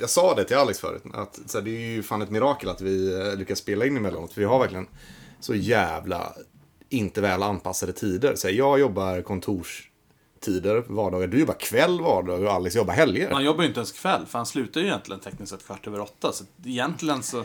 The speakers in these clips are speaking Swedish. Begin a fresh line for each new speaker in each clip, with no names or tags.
jag sa det till Alex förut, att så här, det är ju fan ett mirakel att vi eh, lyckas spela in emellanåt. För vi har verkligen så jävla inte väl anpassade tider. Så här, jag jobbar kontorstider vardagar, du jobbar kväll vardagar och Alex jobbar helger.
Han jobbar ju inte ens kväll, för han slutar ju egentligen tekniskt sett kvart över åtta. Så egentligen så...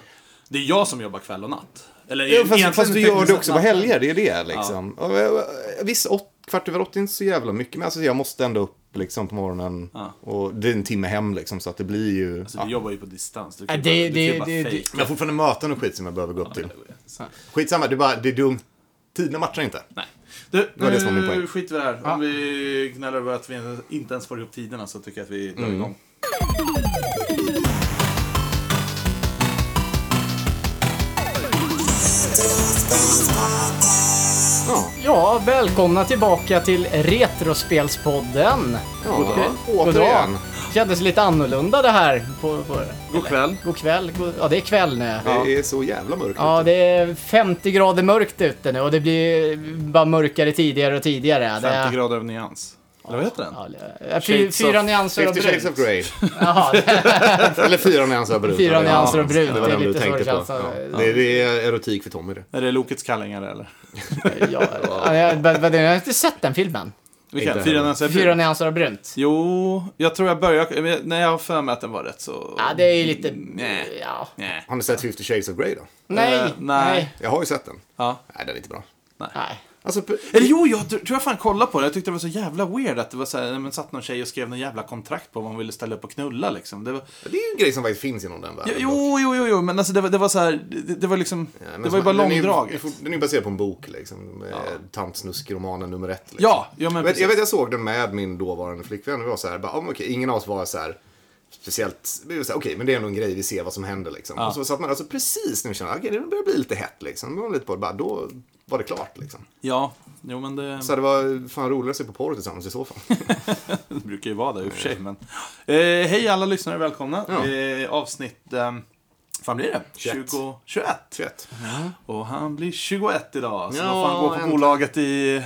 Det är jag som jobbar kväll och natt. Eller
Ja, fast,
egentligen
fast du
tekniskt
gör det
sett
också på
natten.
helger, det är det liksom. Och, eh, Visst, åt, kvart över åtta är inte så jävla mycket, men alltså, jag måste ändå upp liksom, på morgonen.
Ja.
Och det är en timme hem liksom, så att det blir ju...
Alltså,
ja.
vi jobbar ju på distans. Du
Ja,
kan ju bara-
det-
du kan ju
det-
bara
det-
fejka.
Men jag har fortfarande möten och skit som jag behöver gå upp till.
Så-
Skitsamma, det är bara, det är dumt. Tiderna matchar inte.
Nej. Du,
var det som var min
nu
poäng.
skiter vi i det här. Om vi gnäller över att vi inte ens får ihop tiderna så tycker jag att vi drar
Mm.
igång.
Ja.
Ja, välkomna tillbaka till Retrospelspodden.
Ja,
God
återigen.
dag. Kändes lite annorlunda det här. På, på,
God kväll.
god kväll. God, ja, det är kväll nu. Ja.
Det är så jävla mörkt ute.
det är 50 grader mörkt ute nu och det blir bara mörkare tidigare och tidigare. 50
50 grader över nyans. Eller vad heter den?
Ja, det är fy,
Shades
fyra
of-
nyanser av
50 shades
brunt.
of grey.
Jaha, det är
Eller fyra nyanser av brunt.
Fyra
Ja,
nyanser av brunt,
Det var
det är
den du
lite alltså. så
tänkte
det
på.
känns.
Ja. Det, det är erotik för Tommy det.
Är det Lokets kallingar eller?
ja, ja, jag, jag, jag, har inte sett den filmen.
Vilken?
Inte
Fyra
heller.
nyanser brun?
Fyra nyanser av brunt.
Jo, jag tror jag började... men Nej, jag har för mig att den var rätt så...
Ja, det är ju lite...
Nej.
Ja.
Nej.
Har ni sett 50 shades of grey då?
Nej,
Eh, nej.
nej.
Jag har ju sett den.
Ja.
Nej, den är inte bra.
nej.
Alltså, p-
Eller jo, jag tr- tror jag fan kollade på det. Jag tyckte det var så jävla weird att det var så här, men satt någon tjej och skrev någon jävla kontrakt på om hon ville ställa upp och knulla liksom. Det var,
det är ju en grej som faktiskt finns inom den världen.
jo, jo, jo, jo, men alltså det var, det var så här, det, det var liksom,
Ja, men
det var ju
som-
bara
den är ju-
långdraget.
Den är ju baserad på en bok liksom. Ja. Tantsnuskromanen nummer ett. Liksom.
Ja, ja men
Jag vet, jag vet,
precis.
jag såg den med min dåvarande flickvän. Vi var så här, bara, ah, men okej, ingen av oss var så här speciellt, vi var så här, okej, men det är ändå en grej, vi ser vad som händer liksom. Och så satt man alltså precis när vi kände, okej, det börjar bli lite hett liksom. Då var, lite på, det, bara, då var det klart liksom.
Ja, jo men det,
Så det var fan roligare att se på porr tillsammans i så fall.
det brukar ju vara det i och för sig. Men. Eh, hej alla lyssnare, välkomna.
Ja.
Eh, avsnitt, eh, fan blir det?
21.
20, 21.
Fett.
Och han blir 21 idag, så
Ja,
då får han gå på
äntligen.
bolaget i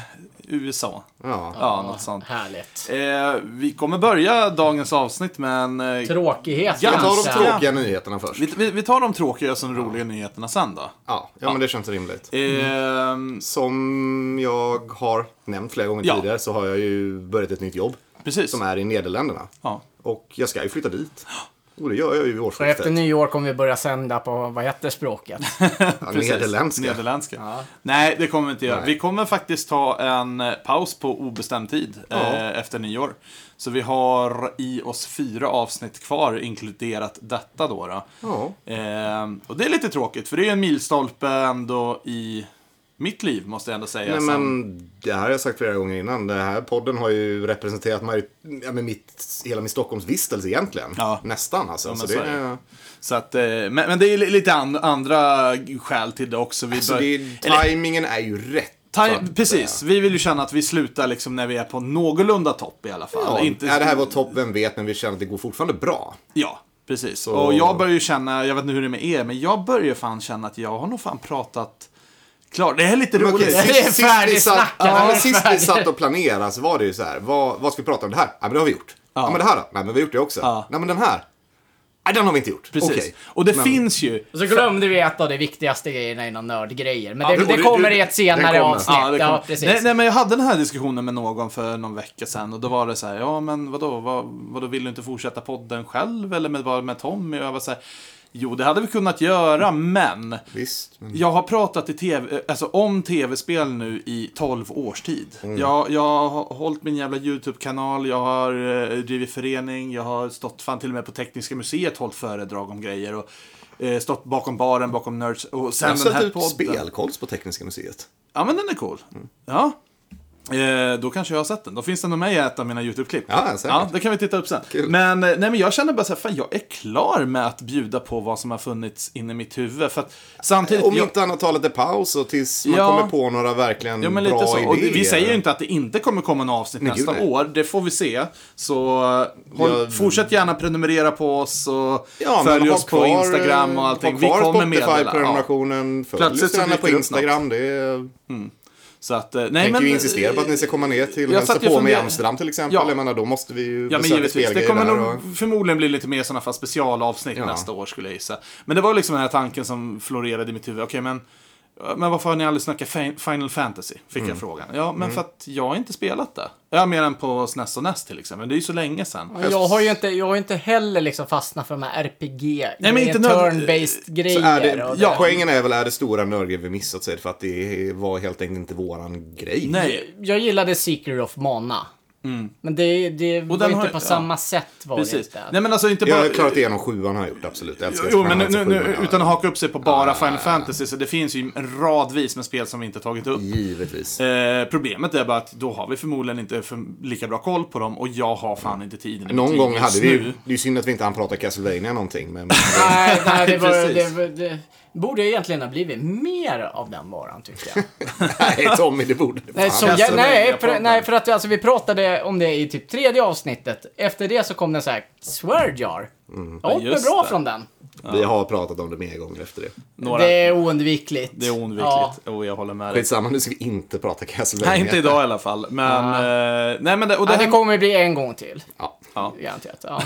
USA.
Ja.
Ja, något sånt.
Härligt.
Eh, vi kommer börja dagens avsnitt med en eh,
Tråkighet
Ja,
Vi tar de
kanske.
tråkiga nyheterna först.
Vi, vi, vi tar de tråkiga som roliga nyheterna sen då.
Ja, ja, men det känns rimligt. Mm.
Ehm,
Som jag har nämnt flera gånger
Ja.
tidigare så har jag ju börjat ett nytt jobb.
precis.
Som är i Nederländerna.
Ja.
Och jag ska ju flytta dit. Och det gör jag ju vid
Och efter
årsskiftet.
nyår kommer vi börja sända på, vad heter språket?
Ja,
Precis.
Nederländska.
Nederländska. Nej, det kommer vi inte göra.
Nej.
Vi kommer faktiskt ta en eh, paus på obestämd tid eh, efter nyår. Så vi har i oss fyra avsnitt kvar, inkluderat detta då. då.
Ja.
Ehm, och det är lite tråkigt, för det är en milstolpe ändå i mitt liv, måste jag ändå säga.
Nej,
som-
men det här har jag sagt flera gånger innan. Den här podden har ju representerat mig, ja, men mitt, hela min Stockholmsvistelse egentligen.
Ja.
Nästan alltså.
men
så
så
det,
är
är,
Så att, eh, men, men det är li- lite an, andra skäl till det också. Vi
så
bör-
Alltså, det
eller-
är, tajmingen är ju rätt. så
Time,
att,
precis, vi vill ju känna att vi slutar liksom när vi är på någorlunda topp i alla fall.
Ja,
Inte,
ja, det här var topp, vem vet, men vi känner att det går fortfarande bra.
Ja, precis. Och jag börjar ju känna, jag vet inte hur det är med er, men jag börjar ju fan känna att jag har nog fan pratat klart. Det här är lite
Men okej,
roligt.
Det är
sist- sist vi satt-
färdigsnackat.
ja, men
Det är
Sist vi
färdigt.
satt och planerade så var det ju så här, vad, vad ska vi prata om det här? Ja, men det har vi gjort. Ja, men det här då? Nej, men vi har gjort det också.
Ja.
Nej, men den här? Nej, den har vi inte gjort.
Precis.
Okej.
Och det
Men-
finns ju.
Och så glömde vi ett av de viktigaste grejerna inom nördgrejer. Men det,
Ja,
det,
det-
kommer
det-
i ett senare
det kommer.
avsnitt. Ja,
kan-
precis.
nej, nej, men jag hade den här diskussionen med någon för någon vecka sedan och då var det så här, ja men vadå, vad, vadå vill du inte fortsätta podden själv eller med, bara med Tommy? Och jag var så här, jo det hade vi kunnat göra, men
Visst. Men...
Jag har pratat i TV, alltså om tv-spel nu i 12 års tid.
Mm.
Jag, jag har hållit min jävla YouTube-kanal, jag har eh, drivit förening, jag har stått fan till och med på Tekniska museet hållit föredrag om grejer och eh, stått bakom baren, bakom Nerds och
Jag
sen
har
den
satt
här
ut
podden.
spelkolls på Tekniska museet.
Ja, men den är cool.
Mm.
Ja. Eh, då kanske jag har sett den. Då finns den nog med i ett av mina YouTube-klipp.
Ja, säkert.
ja, det kan vi titta upp sen.
Kul.
Men, eh, nej, men jag känner bara så här, fan jag är klar med att bjuda på vad som har funnits inne i mitt huvud. För att samtidigt...
Om
jag-
inte annat tar lite paus och tills man
Ja.
kommer på några verkligen
Ja, men
bra
lite så. Och
idéer.
vi säger ju inte att det inte kommer komma en avsnitt
Nej, gud,
nästa
nej.
år. Det får vi se. Så eh, håll,
Jag-
fortsätt gärna prenumerera på oss och
Ja, men
följ
ha
oss på
kvar,
Instagram och
ha
allting. Vi
kvar
kommer meddela. Ja.
Spotify-prenumerationen. Följ
Plötsligt
oss
så
gärna
dyker
på
det upp
Instagram. Det är...
Så att, eh, nej
Tänker
men...
ju insistera på att ni ska komma ner till
Jag
hälsa
satt ju
på mig i
funderar-
Amsterdam till exempel.
Ja.
Jag menar, då måste vi ju
Ja, men
besöka
givetvis. Det
spelgrejer
kommer
där.
nog
Och...
förmodligen bli lite mer sådana fast specialavsnitt
Ja.
nästa år skulle jag gissa. Men det var liksom den här tanken som florerade i mitt huvud. Okej, men, men varför har ni aldrig snackat fin- Final Fantasy? Fick
Mm.
jag frågan. Ja, men för att jag har inte spelat det. Jag mer än på SNES och NES till exempel. Men det är ju så länge sedan.
Men Jag har ju inte, jag har ju inte heller liksom fastnat för de här RPG,
Nej, men inte nöd-
turn-based
Så
grejer.
är det,
och
ja. Poängen är väl, är det stora nördgrejer vi missat så är det för att det var helt enkelt inte våran grej.
Nej, Mm.
Jag gillade Secret of Mana. Men det, det var
den
ju
har-
inte på
ja.
samma sätt. Var det
precis.
inte.
Nej, men alltså inte
Jag
bara...
har klarat igenom sjuan har jag gjort, absolut. Jag älskar
Jo,
Final
men nu,
Fantasy
nu, nu,
sjuan, ja. Ah.
utan att haka upp sig på bara Final Fantasy, så det finns ju en radvis med spel som vi inte tagit upp.
Givetvis.
Eh, problemet är bara att då har vi förmodligen inte för lika bra koll på dem och jag har fan inte tiden. i
Någon
mitt
gång
liv
hade
just
vi ju...
nu.
Det är ju synd att vi inte hann prata Castlevania någonting, men...
Nej, nej, det, var,
precis.
det, var- det borde ju egentligen ha blivit mer av den varan, tycker jag.
nej, Tommy, det borde det
Nej,
fan.
som jag,
Castlevania
nej, för,
pratar.
nej, för att alltså, vi pratade om det i typ tredje avsnittet. Efter det så kom den så här, Swear Jar.
Mm.
Jag åt mig
just
bra
det.
från den.
Vi har pratat om det mer gånger efter det.
Några,
Det är oundvikligt.
det är oundvikligt
Ja.
och jag håller med dig.
Skitsamma, nu ska vi inte prata Castlevania.
Nej, inte idag i alla fall. Men, eh, nej, men, det, och det
Ja, det
här,
kommer bli en gång till.
Ja.
Garanterat. Ja.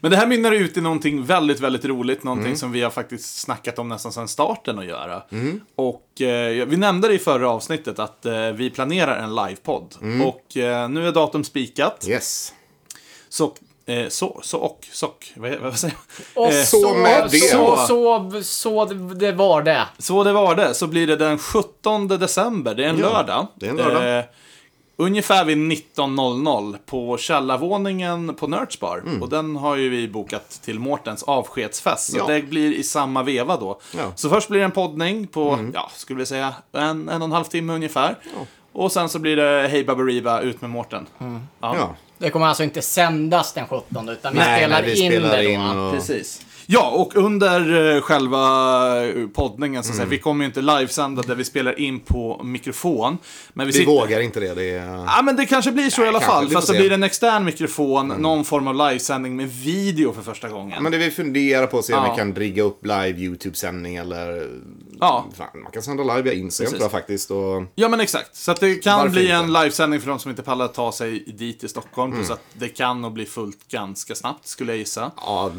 men det här mynnar ut i någonting väldigt, väldigt roligt. Någonting
Mm.
som vi har faktiskt snackat om nästan sedan starten att göra.
Mm.
Och eh, vi nämnde det i förra avsnittet att eh, vi planerar en livepodd.
Mm.
Och eh, nu är datum spikat.
Yes.
Så, eh, så, så och, sock. Vad, vad säger jag?
Och
Eh,
så, så,
med det.
så, så, det var det.
Så det var det. Så blir det den 17 december. Det är en
Ja,
lördag.
det är en lördag.
Eh, ungefär vid 19.00 på källarvåningen på Nerds Bar.
Mm.
Och den har ju vi bokat till Mårtens avskedsfest. Så
Ja.
det blir i samma veva då.
Ja. Mm.
Så först blir det en poddning på, ja, skulle vi säga en, en och en halv timme ungefär. Och sen så blir det Hej Baberiba, ut med Mårten. Ja.
Mm. Ja.
Det kommer alltså inte sändas den 17 utan vi spelar
vi
in
spelar
det
in
då.
och...
Precis. Ja, och under eh, själva eh, poddningen, så
Mm.
att säga, vi kommer ju inte livesända där vi spelar in på mikrofon. Men vi
Vi
sitter...
vågar inte det. det är...
Ja, men det kanske blir så i alla
kanske,
fall.
vi får
Fast det
se. Mm.
blir en extern mikrofon, någon form av livesändning med video för första gången.
Men det vi funderar på att se om
Ja.
vi kan rigga upp live YouTube-sändning eller...
Ja.
Fan, man kan sända live via Instagram
Precis.
tror jag faktiskt. Och...
Ja, men exakt. Så att det kan
Varför
bli
inte? Mm.
en livesändning för de som inte pallar att ta sig dit i Stockholm. Så att det kan nog bli fullt ganska snabbt, skulle jag gissa.
Ja,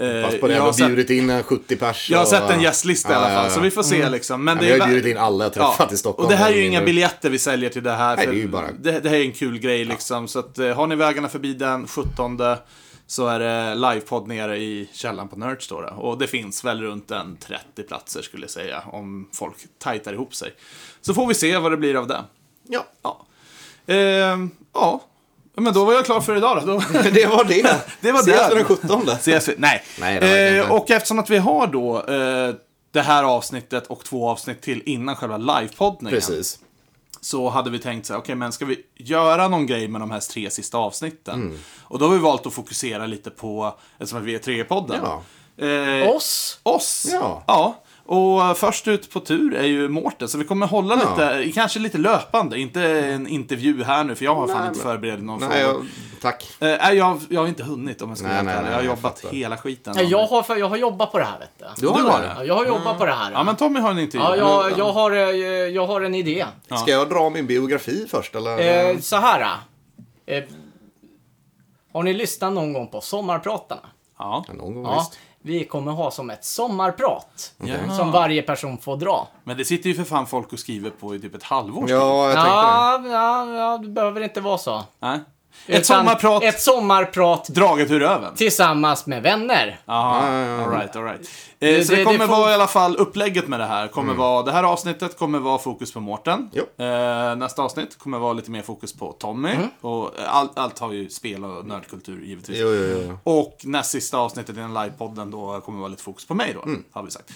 Eh,
fast på det.
jag
Jag
har
har
sett-
bjudit in en 70 pers.
Jag har
och-
sett en gästlista i alla
Ja, ja,
fall,
ja. Mm.
så vi får se liksom. Men
Ja,
det
men
är
jag har
vä-
bjudit in alla jag träffat i Stockholm.
Och det här är ju
Men
inga
nu-
biljetter vi säljer till det här.
Nej,
för
det är ju bara-
det, det här är en kul grej liksom. Så att, eh, har ni vägarna förbi den 17 så är det livepodd nere i källaren på Nerds då, då. Och det finns väl runt en 30 platser skulle jag säga. Om folk tajtar ihop sig. Så får vi se vad det blir av det.
Ja,
Ja. Ehm, ja. Men då var jag klar för idag då. då.
det var det.
Det var
Ses
det.
vi den 17.
Ses vi? Nej.
Nej, det var det
eh,
inte.
och eftersom att vi har då eh, det här avsnittet och två avsnitt till innan själva livepoddningen.
Precis.
Så hade vi tänkt så här, okej men ska vi göra någon grej med de här tre sista avsnitten?
Mm.
Och då har vi valt att fokusera lite på, eftersom att vi är tre i podden.
Ja.
Eh,
Oss?
oss.
Ja.
Och först ut på tur är ju Mårten, så vi kommer hålla lite, kanske lite löpande. Inte en intervju här nu, för jag har fan inte förberett någon
Nej,
fråga.
jag... tack.
Eh, nej, jag, har- jag har inte hunnit om jag ska vara
Nej, nej,
helt ärlig.
nej,
Jag har
jag
jobbat
fattar.
hela skiten.
Nej, jag har, jag har jobbat på det här vet du.
Du har det?
Ja, jag har jobbat på det här.
Ja, men Tommy har en intervju.
ja, jag, jag, har, eh, jag har en idé.
Ska jag dra min biografi först eller?
Eh, så här. Eh, har ni lyssnat någon gång på Sommarpratarna?
Ja.
Någon gång
Ja,
visst.
vi kommer ha som ett sommarprat.
Jaha.
Som varje person får dra.
Men det sitter ju för fan folk och skriver på i typ ett halvår.
Ja, jag tänkte det.
Ja, ja, ja, det behöver inte vara så.
Nej. Ett
Utan
sommarprat
Ett sommarprat
draget ur röven.
tillsammans med vänner.
Jaha,
Ja, ja, ja.
alright, alright. Eh, så det,
det- det
kommer
får-
vara i alla fall upplägget med det här. Kommer vara, det här avsnittet kommer vara fokus på Mårten.
Mm. Jo. Mm.
Eh, nästa avsnitt kommer vara lite mer fokus på Tommy. Och eh, allt, allt har ju spel och nördkultur givetvis.
Jo, jo, jo.
Och näst sista avsnittet i den livepodden då kommer vara lite fokus på mig då, har vi sagt.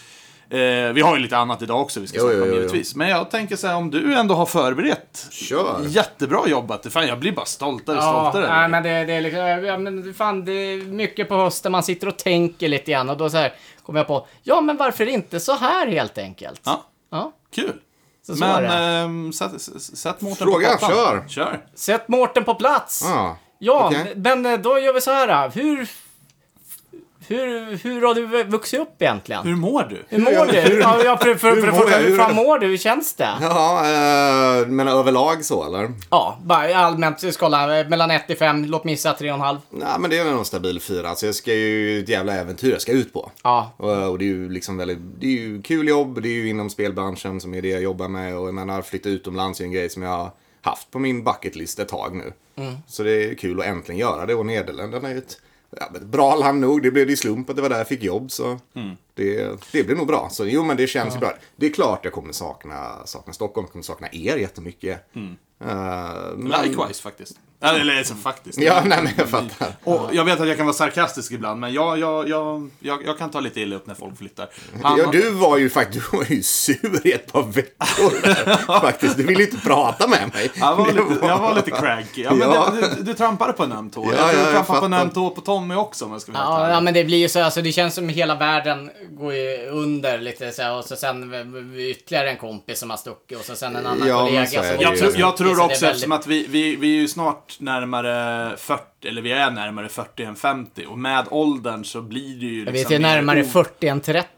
Eh, vi har ju lite annat idag också vi ska
Mm. Jo,
snacka
jo,
om
jo, jo.
givetvis. Men jag tänker så här, om du ändå har förberett
Kör.
jättebra jobbat. Fan, jag blir bara stoltare och stoltare.
nej, men det, det är liksom, ja, men fan, det är mycket på hösten, man sitter och tänker lite grann och då så här kommer jag på, ja men varför inte så här helt enkelt?
Ja,
Ja.
kul.
Så så
Men
är det.
ehm, sätt, s- sätt Mårten på
Fråga,
pottan.
kör.
Kör.
Sätt Mårten på plats!
Ja.
Ja,
Okej.
men då gör vi så här. Hur, Hur, hur har du vuxit upp egentligen? Hur,
Hur mår du?
mår du? Hur, ja, jag- för, för,
hur
för,
mår
för,
jag?
hur
Hur-
fan mår du? Hur känns det?
Ja, eh, men överlag så eller?
Ja, bara allmänt skala eh, mellan 1 till 5. Låt mig gissa 3,5.
Nej, men det är nog en stabil fyra. Alltså, jag ska ju ett jävla äventyr jag ska ut på.
Ja.
Och, och det är ju liksom väldigt, det är ju kul jobb, det är ju inom spelbranschen som är det jag jobbar med och jag menar flytta utomlands är en grej som jag har haft på min bucketlist ett tag nu. Så det är kul att äntligen göra det och Nederländerna är ju ett, ja, men ett bra land nog. Det blev ju slump att det var där jag fick jobb så det, det blir nog bra. Så jo men det känns ju bra. Det är klart jag kommer sakna, sakna Stockholm, kommer sakna er jättemycket. Mm. men,
Likewise faktiskt. Eller, eller alltså, faktiskt.
ja, nej men jag fattar.
Och jag vet att jag kan vara sarkastisk ibland, men jag, jag, jag, jag, jag kan ta lite illa upp när folk flyttar. Han-
Ja, du var ju faktiskt du var ju sur i ett par veckor. där, faktiskt. Du ville inte prata med mig.
Jag var,
Det
lite, jag var lite cranky. Ja, men
Ja.
det- Du, du trampade på en öm tå.
Ja,
jag
ja,
tror du
jag
trampade på en
fattar.
öm tå på Tommy också om jag ska vara helt
Ja, ja,
ärlig.
men det blir ju så. Alltså, det känns som hela världen går ju under lite så här, och så sen eh, ytterligare en kompis som har stuckit och så sen en annan
Ja, men
kollega.
så är
som-
det ju.
Jag, tror- jag
Så det
tror också,
är väldigt-
eftersom att vi, vi, vi är ju snart närmare 40, eller vi är närmare 40 än 50. Och med åldern så blir det ju liksom...
Jag vet ju
mer
närmare
o-
Mm.
40 än 30.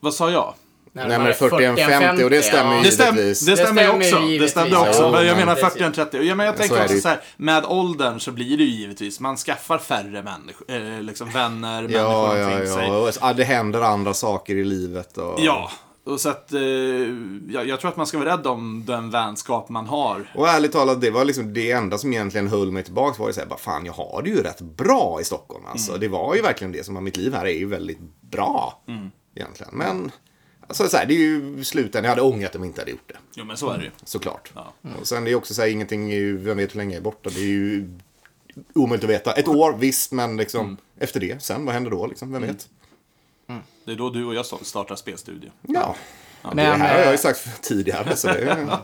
Vad sa jag?
Närmare 40 än 50 och det stämmer ju.
Det, stäm, det
Givetvis.
stämmer
Det
ju
stämmer ju
också. Det
givetvis.
stämde också.
Jo,
men jag
men
menar
precis.
40 än 30. Ja, men jag
är
tänker också
det ju.
så här, med åldern så blir det ju givetvis, man skaffar färre människor, eh, liksom vänner, människor
Ja, ja,
omkring sig.
ja. Och, ja. Det händer andra saker i livet. Och...
Ja, och så att eh, jag, jag tror att man ska vara rädd om den vänskap man har.
Och ärligt talat, det var liksom det enda som egentligen höll mig tillbaka var ju såhär, bara fan jag har det ju rätt bra i Stockholm alltså.
Mm.
Det var ju verkligen det som var mitt liv här, är ju väldigt bra.
Mm.
Egentligen. Men, alltså så här, det är ju slutändan, jag hade ångrat om jag inte hade gjort det.
Jo, men så är det ju.
Såklart. Mm.
Ja.
Och sen det är också så här, ingenting, är ju- vem vet hur länge jag är borta. Det är ju omöjligt att veta. Ett år, visst, men liksom efter det, sen, vad händer då liksom? Vem vet?
Det är då du och jag sta- startar spelstudio.
Ja. det
Men,
här har jag ju
eh,
sagt tidigare, så det är...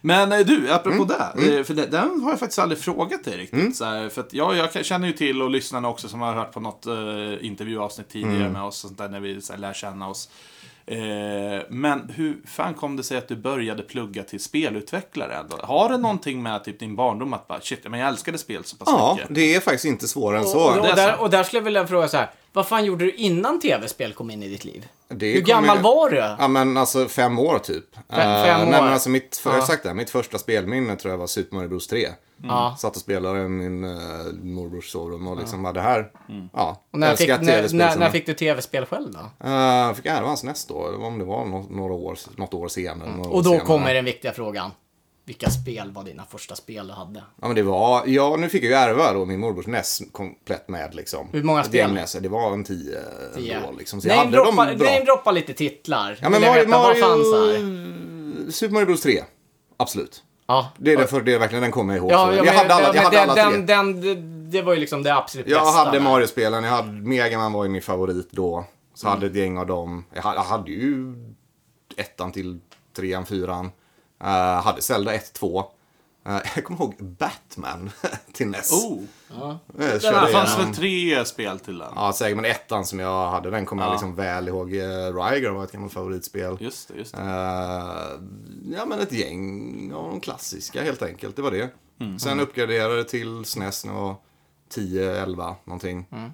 Men eh, du, apropå
Mm.
det. eh, För det, den har jag faktiskt aldrig frågat dig riktigt. Så här, för att jag, jag kan- känner ju till, och lyssnarna också som har hört på något eh, intervjuavsnitt tidigare
Mm.
med oss, sånt där, när vi så här, lär känna oss. Eh, men hur fan kom det sig att du började plugga till spelutvecklare? Ändå? Har det någonting med typ, din barndom att bara, shit, men jag älskade spel så pass
Ja,
mycket?
det är faktiskt inte svårare än så.
Och, och,
är
där,
sant.
och där skulle jag vilja fråga så här. Vad fan gjorde du innan tv-spel kom in i ditt liv?
Det
Hur
kom
gammal
ju-
var du?
Ja men alltså fem år typ. Eh,
fem
Nej,
år.
men alltså mitt, för,
Ja.
jag har sagt det, här, mitt första spelminne tror jag var Super Mario Bros 3.
Ja.
Satt och spelade i min uh, morbrors sovrum och liksom bara det här. Ja,
Och när, fick,
älskar
när,
tv-spel
när,
som-
när fick du tv-spel själv då?
Eh, fick ärva hans nästa år, eller om det var nå- några år, något år senare. några år
Mm. Och då
senare.
kommer den viktiga frågan. Vilka spel var dina första spel du hade?
Ja men det var, ja nu fick jag ju ärva då min morbrors NES komplett med liksom.
Hur många
Ett
spel?
gäng NES, det var en tio,
Yeah.
ändå liksom. Så jag hade dem
Namedroppa
bra.
namedroppa lite titlar.
ja men
Vill jag
Mario,
veta, vad fanns här?
Mario, Super Mario Bros 3. Absolut.
Ja.
Det är, därför, det är verkligen den kommer jag ihåg.
Ja,
så.
ja,
jag
men-
hade alla, jag
ja, men
hade
den,
alla tre.
den, den, det- Det var ju liksom det absolut
jag
bästa.
hade
med.
Mario-spelen, jag hade Megaman var ju min favorit då. Så hade ett gäng av dem. Jag hade, jag hade ju ettan till trean, fyran. Eh, hade Zelda 1, 2. Eh, jag kommer ihåg Batman till NES.
Oh,
Eh,
det
körde
fanns
igenom.
väl tre spel till den?
Ja, säkert, men ettan som jag hade, den kommer jag liksom väl ihåg. Eh, Rygar var ett gammalt favoritspel.
Just det, just det.
Eh, ja, men ett gäng av de klassiska helt enkelt. Det var det.
Mm.
Sen uppgraderade det till SNES när jag var 10, 11 någonting.
Mm.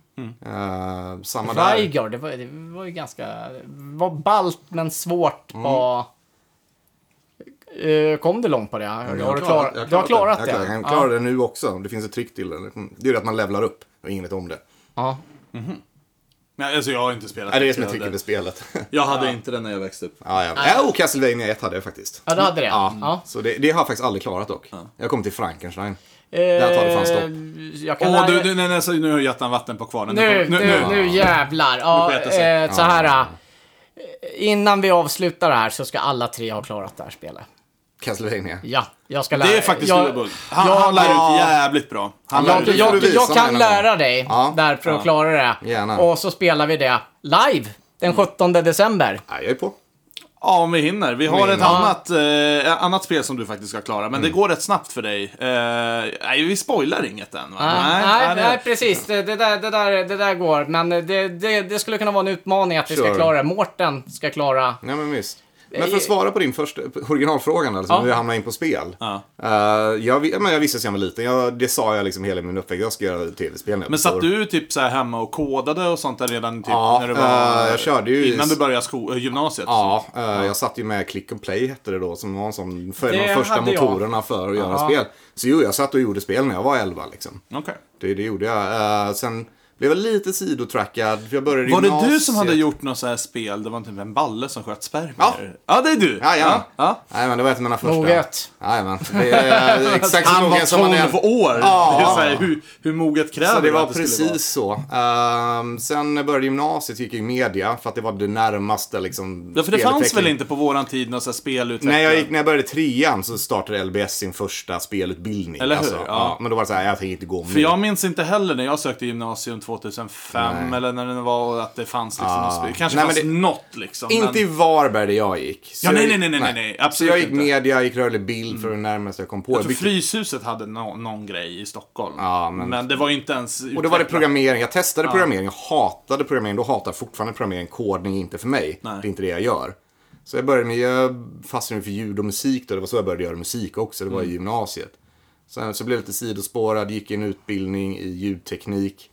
Eh, samma där.
Rygar, det var, det var ju ganska... det var ballt men svårt var... Eh, Kom du långt på det? Har du, klar,
Jag
du har klarat det?
Jag klarar, jag
Ja.
klarar det nu också. Det finns ett trick till det. Det är ju att man levlar upp. Jag har inget om det.
Ja.
Nej, alltså jag har inte spelat
Nej, det är det som är
Jag
tricket
hade-
med spelet.
Jag hade inte den när jag växte upp.
ja, ja. ja, och Castlevania 1 hade jag faktiskt.
ja, du hade det?
Ja.
Ja.
Så det, det har jag faktiskt aldrig klarat dock. Jag kom till Frankenstein.
Eh,
Där tar det fan stopp.
Jag kan
Åh,
lära...
du, du, nej, nej, så nu har Göttan vatten på kvarnen.
Nu,
nu,
nu, nu jävlar. Ja,
Nu sket det sig.
eh, så här. eh, Innan vi avslutar det här så ska alla tre ha klarat det här spelet.
Castlevania.
Ja, jag ska lära
Det är faktiskt
jag-
Lullebull. Han,
jag-
han lär
ja.
ut jävligt bra. Han lär
Jag,
ut
du
jag,
visa
jag
mig
kan
någon
lära dig
Ja.
där för att klara det.
Gärna.
Och så spelar vi det live den 17 december.
Ja, jag är på.
Ja, om vi hinner. Vi har
vi
ett
hinner.
annat, eh, annat spel som du faktiskt ska klara, men
Mm.
det går rätt snabbt för dig. Eh, nej, vi spoilar inget än, va?
Nej, Ah, nej,
det-
precis. Det, det, där, det, där, det där går. Men det, det, det skulle kunna vara en utmaning att vi ska
Sure.
klara det. Mårten ska klara
Nej, men visst. Men för att svara på din första på originalfrågan, alltså,
Ja.
hur jag hamnade in på spel.
Ja.
Eh, jag, vi- men jag visste sen jag var liten, jag, det sa jag liksom hela min uppväxt, jag ska göra tv-spel nu.
Men
Så-
satt du typ så här hemma och kodade och sånt där redan typ
Ja,
när du var...
eh, jag körde ju-
Innan du började sko- eh, gymnasiet?
Ja, eh, jag satt ju med Click and Play hette det då, som var en sån, för en av de
Det
första
hade jag.
motorerna för att göra spel. Så jo, jag satt och gjorde spel när jag var 11 liksom.
Okej.
Det, det gjorde jag. Eh, sen blev jag lite sidotrackad, för jag började
Var det du
gymnasiet.
som hade gjort något så här spel? Det var inte en balle som sköt spermier?
Ja.
ja, det är du!
Ja, ja.
ja.
Nej, men det var ett av mina första.
Moget.
Jajamän. Det är eh, exakt så
Han var
mogen som man
12
är.
år!
Ja.
Det är så här, hur, hur moget kräver
Så det var
att det skulle vara?
precis så. Ehm, sen när jag började gymnasiet gick jag i media för att det var det närmaste liksom.
Ja, för det fanns väl
spelutveckling.
inte på våran tid någon så här spelutvecklare?
Nej, jag gick, när jag började trean så startade LBS sin första spelutbildning. alltså.
Eller
ja.
hur? Ja.
Men då var det så här, jag tänker inte gå
För
med.
jag minns inte heller när jag sökte gymnasium 2005 eller när det var att det fanns liksom något spel. Kanske
Nej, men
fanns
det-
något liksom.
Inte i
men...
Varberg där jag gick. Så
Ja,
jag
nej,
gick-
nej, nej, nej, nej, nej, absolut
Så jag gick
inte. Mm.
media, jag gick rörlig bild för det närmaste jag kom på.
Jag
Jag
tror
bytte,
Fryshuset hade nå- någon grej i Stockholm.
Ja, men-
det var ju inte ens
och då var det
utvecklat.
programmering. Jag testade programmering, jag hatade programmering. Då hatar jag fortfarande programmering. Kodning är inte för mig.
Nej.
Det är inte det jag gör. Så jag började med, jag fastnade för ljud och musik då. Det var så jag började göra musik också. Det var i gymnasiet. Sen så blev jag lite sidospårad, gick en utbildning i ljudteknik.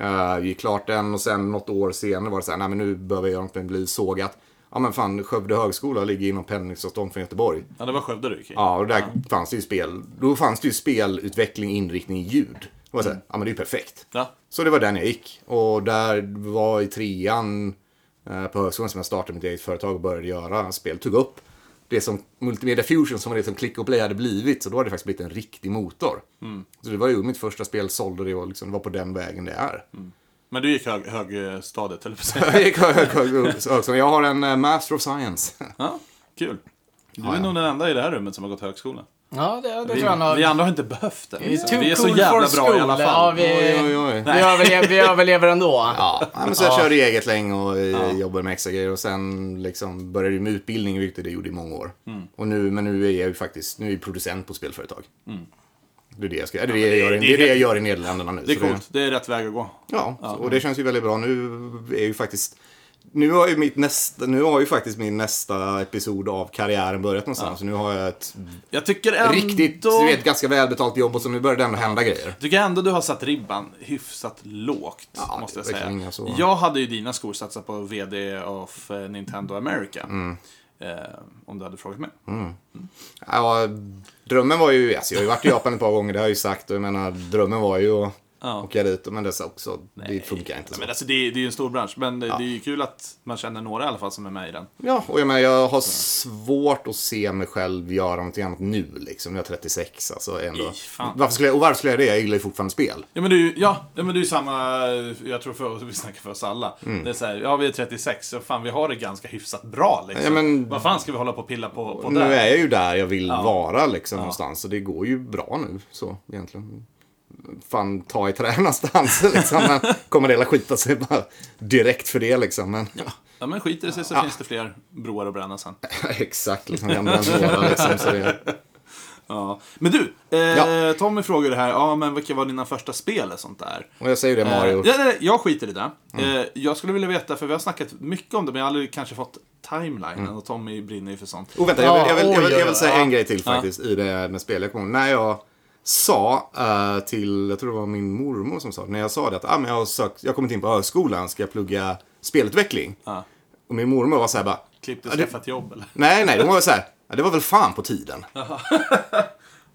Uh, gick klart den och sen något år senare var det så här, nej men nu behöver jag egentligen bli sågat. Ja men fan, Skövde högskola ligger inom pendlingsavstånd från Göteborg.
Ja, det var Skövde du gick i.
Ja, och där fanns det ju spel. Då fanns det ju spelutveckling, inriktning, ljud. Det var så här, ja men det är ju perfekt.
Ja.
Så det var den jag gick. Och där var i trean eh, på högskolan som jag startade mitt eget företag och började göra spel. Tog upp det som Multimedia Fusion, som var det som Click och Play hade blivit. Så då hade det faktiskt blivit en riktig motor. Så det var ju mitt första spel, sålde det och liksom, det var på den vägen det är.
Men du gick hög, högstadiet, eller på
Jag gick hög- hög- hög- högskolan. Jag har en eh, Master of Science.
Ja, kul. Du är nog den enda i det här rummet som har gått högskola.
Ja, det, det tror
Vi,
jag nog.
vi andra har inte behövt det.
too
vi är så
cool
jävla
for
bra i alla
school.
fall.
Ja, vi,
Oj, oj, oj.
vi, överlever, vi överlever ändå.
Ja, nej, men så jag körde eget länge och eh, jobbade med extra grejer och sen liksom började jag med utbildning, vilket det gjorde i många år.
Mm.
Och nu, men nu är jag ju faktiskt nu är jag producent på spelföretag. Det är det jag, ska, eller det, jag gör, i-
Mm. det
det, är
är
det jag gör i Nederländerna nu.
Det är
så
coolt. Det är rätt väg att gå.
ja, och det känns ju väldigt bra. Nu är ju faktiskt nu har ju, mitt nästa, nu har ju faktiskt min nästa episod av karriären börjat någonstans. Så nu har jag ett
Jag tycker ändå...
riktigt, du vet, ganska välbetalt jobb och så nu börjar det ändå hända grejer.
tycker ändå du har satt ribban hyfsat lågt,
Ja,
måste jag
det kan
säga.
jag så.
Jag hade ju dina skor satsat på VD of eh, Nintendo America.
Mm.
Eh, om du hade frågat mig.
Ja, drömmen var ju, alltså jag har ju varit i Japan ett par gånger, det har jag ju sagt. Och jag menar, drömmen var ju att
Ja.
åka dit. Men det, sa också, det funkar inte
Nej,
så.
men alltså, det, är- det är ju en stor bransch, men det, det är ju kul att man känner några i alla fall som är med i den.
Ja, och jag menar, jag har svårt att se mig själv göra någonting annat nu liksom. Jag är 36, alltså ändå.
Ej, fan.
varför skulle jag, och varför skulle jag det? Jag gillar ju fortfarande spel.
Ja men det är ju, ja, ja, men det är ju samma, jag tror för, vi snackar för oss alla.
Mm.
Det är så här, ja vi är 36, så fan vi har det ganska hyfsat bra liksom.
Ja, men-
Vad fan ska vi hålla på och pilla på, på
nu
det?
är jag ju där jag vill vara liksom någonstans. Så det går ju bra nu, så egentligen. Fan, ta i trä någonstans liksom. Men kommer det hela skita sig bara direkt för det liksom. Men...
Ja men skiter det sig så finns det fler broar att bränna sen.
Exakt, liksom. Gamla några liksom. Så det...
Ja. Men du, eh,
Ja.
Tommy frågade här, ja men vilka var dina första spel och sånt där?
Och jag säger det Mario. Mm.
Eh, ja, nej, jag skiter i det. Eh, jag skulle vilja veta, för vi har snackat mycket om det, men jag har aldrig kanske fått timelinen.
Mm.
Och Tommy brinner ju för sånt.
Och oh, vänta, jag vill, jag vill, jag
Ja,
vill, jag vill
oj,
säga
ja.
en grej till faktiskt i det med spel. Jag kommer ihåg när jag sa eh, till, jag tror det var min mormor som sa det, när jag sa det att ah, men jag har sökt, jag har kommit in på högskolan, ska jag plugga spelutveckling?
Ja.
Och min mormor var så här bara,
Klippte
Ja,
och
det-
skaffade ett jobb eller?
nej nej, hon var väl så här, "Ja, det var väl fan på tiden.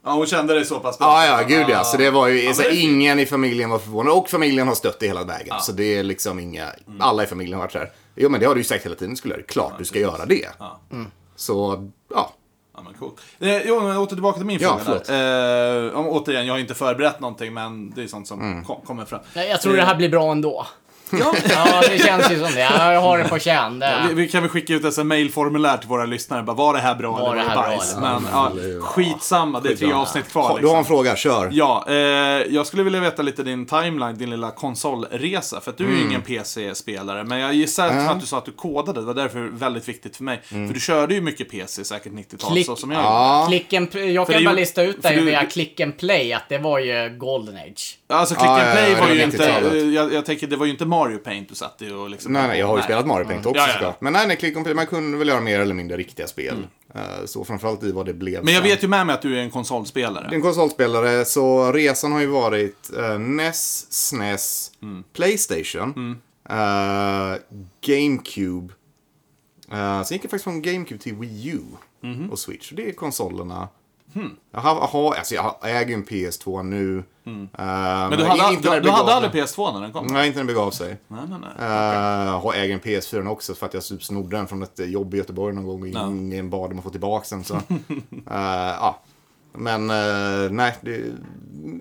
Ja, hon kände det så pass bra.
Ja, ja, gud ja. Så det var ju, så
men det är fint.
ingen i familjen var förvånad. Och familjen har stött det hela vägen. Så det är liksom inga, alla i familjen har varit så här. Jo, men det har du ju sagt hela tiden, skulle jag göra. Klart du ska göra det. Mm. Så, ja.
Ja, men cool. eh, jo, men åter tillbaka till min
Ja,
fråga. där. Eh, om, återigen, jag har inte förberett någonting, men det är sånt som
Mm.
kom, kommer fram.
Nej, Jag tror det här blir bra ändå.
Ja,
Ja, det känns ju som det. Ja, Jag har det på känn.
Eh, vi,
Det.
vi kan väl skicka ut ett mailformulär till våra lyssnare. Bara, var det här bra eller var det här
bra
bajs?
eller
Men, ja, skitsamma, det är tre
Skitsamma.
avsnitt kvar.
Du har
Liksom.
en fråga, kör.
Ja, eh, jag skulle vilja veta lite din timeline, din lilla konsolresa. För att du är
Mm.
ju ingen PC-spelare, men jag gissar att- att du sa att du kodade. Det var därför väldigt viktigt för mig. För du körde ju mycket PC, säkert 90-tal,
Klick.
så som jag gjorde.
Mm. Ja.
Klicken, jag
det är
kan bara
ju-
lista ut
för
det
det är ju-
via klicken play att det var ju Golden Age.
Alltså click
Ja,
and
ja,
play
ja,
var
det
ju
är
inte...
90-talet.
Jag, jag tänker, det var ju inte Mario Paint du satt i och liksom...
Nej, nej, jag har ju spelat Mario Paint också
Mm. Ja, ja, ja.
såklart. Men nej, nej, Click on Play, man kunde väl göra mer eller mindre riktiga spel. Eh, Så framförallt i vad det blev.
Mm. Men jag
sen.
vet ju med mig att du är en konsolspelare.
En konsolspelare, så resan har ju varit eh, NES, SNES, E
Mm.
Playstation, eh, GameCube. Eh, sen gick jag faktiskt från GameCube till Wii U
Mhm.
och Switch. Det är konsolerna.
Hmm.
Jag, har, jag har, alltså jag har- jag äger ju en PS2 nu. eh,
Mm. Men du
inte när
hade, du,
det
du
begav
hade
sig.
aldrig PS2 när den kom?
Nej, inte när det begav sig.
Nej, nej, nej.
Uh, har äger en PS4 -an också för att jag typ snodde den från ett eh, jobb i Göteborg någon gång och
Ja.
ingen bad om att få tillbaka den. Så. Eh, ja. Men eh, nej, det,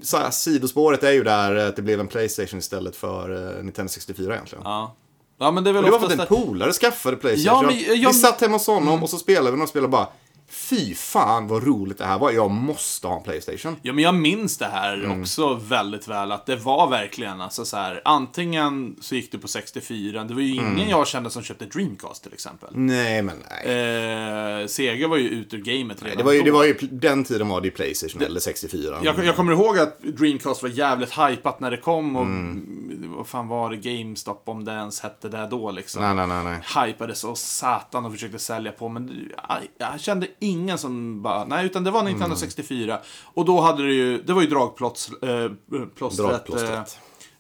så här, sidospåret är ju där eh, att det blev en Playstation istället för eh, Nintendo 64 egentligen.
Ja. ja, men det är väl
Det var för
oftast...
att en
att-
polare skaffade Playstation.
Ja, men-
Jag-
jag-
Vi satt hemma hos honom och så spelade vi några spel och bara Fy fan vad roligt det här var, jag måste ha en Playstation.
Ja, men jag minns det här
Mm.
också väldigt väl. Att det var verkligen alltså så här. Antingen så gick du på 64. Det var ju ingen
Mm.
jag kände som köpte Dreamcast till exempel.
Nej men nej.
Eh, Sega var ju ute ur gamet redan
det, var ju,
då.
det var ju, den tiden var det ju Playstation eller 64.
Jag, jag kommer ihåg att Dreamcast var jävligt hypat när det kom och
Mm.
vad fan var det GameStop om det ens hette det då liksom.
Nej, nej, nej, nej.
Hypades och satan och försökte sälja på men jag, jag kände ingen som bara, nej utan det var
Mm.
1964 och då hade det ju, det var ju dragplåts- eh, plåstret,
Dragplåstret.
Eh,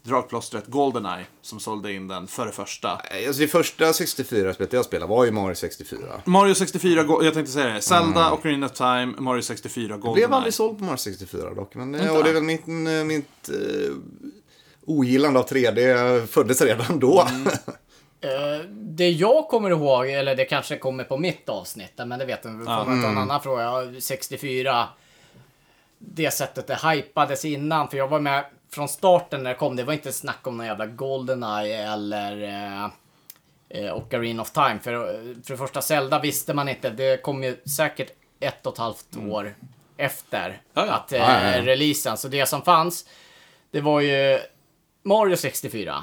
dragplåstret Goldeneye som sålde in den före första.
Nej, Alltså det första 64-spelet jag spelade var ju Mario 64.
Mario 64, Go- jag tänkte säga det, Zelda, Ocarina of Time, Mario 64,
Jag Mm. blev
Goldeneye.
aldrig såld på Mario 64 dock. Men det, och det är väl mitt, mitt eh, ogillande av 3D föddes redan då.
Eh, det jag kommer ihåg, eller det kanske kommer på mitt avsnitt, men det vet jag inte. Får man ta en annan fråga. 64. Det sättet det hypades innan, för jag var med från starten när det kom. Det var inte snack om någon jävla Goldeneye eller eh, eh, Ocarina of Time. För, eh, för det första, Zelda visste man inte. Det kom ju säkert ett och ett halvt år efter
Ja, ja.
att eh,
Mm. Ja, ja, ja.
releasen. Så det som fanns, det var ju Mario 64.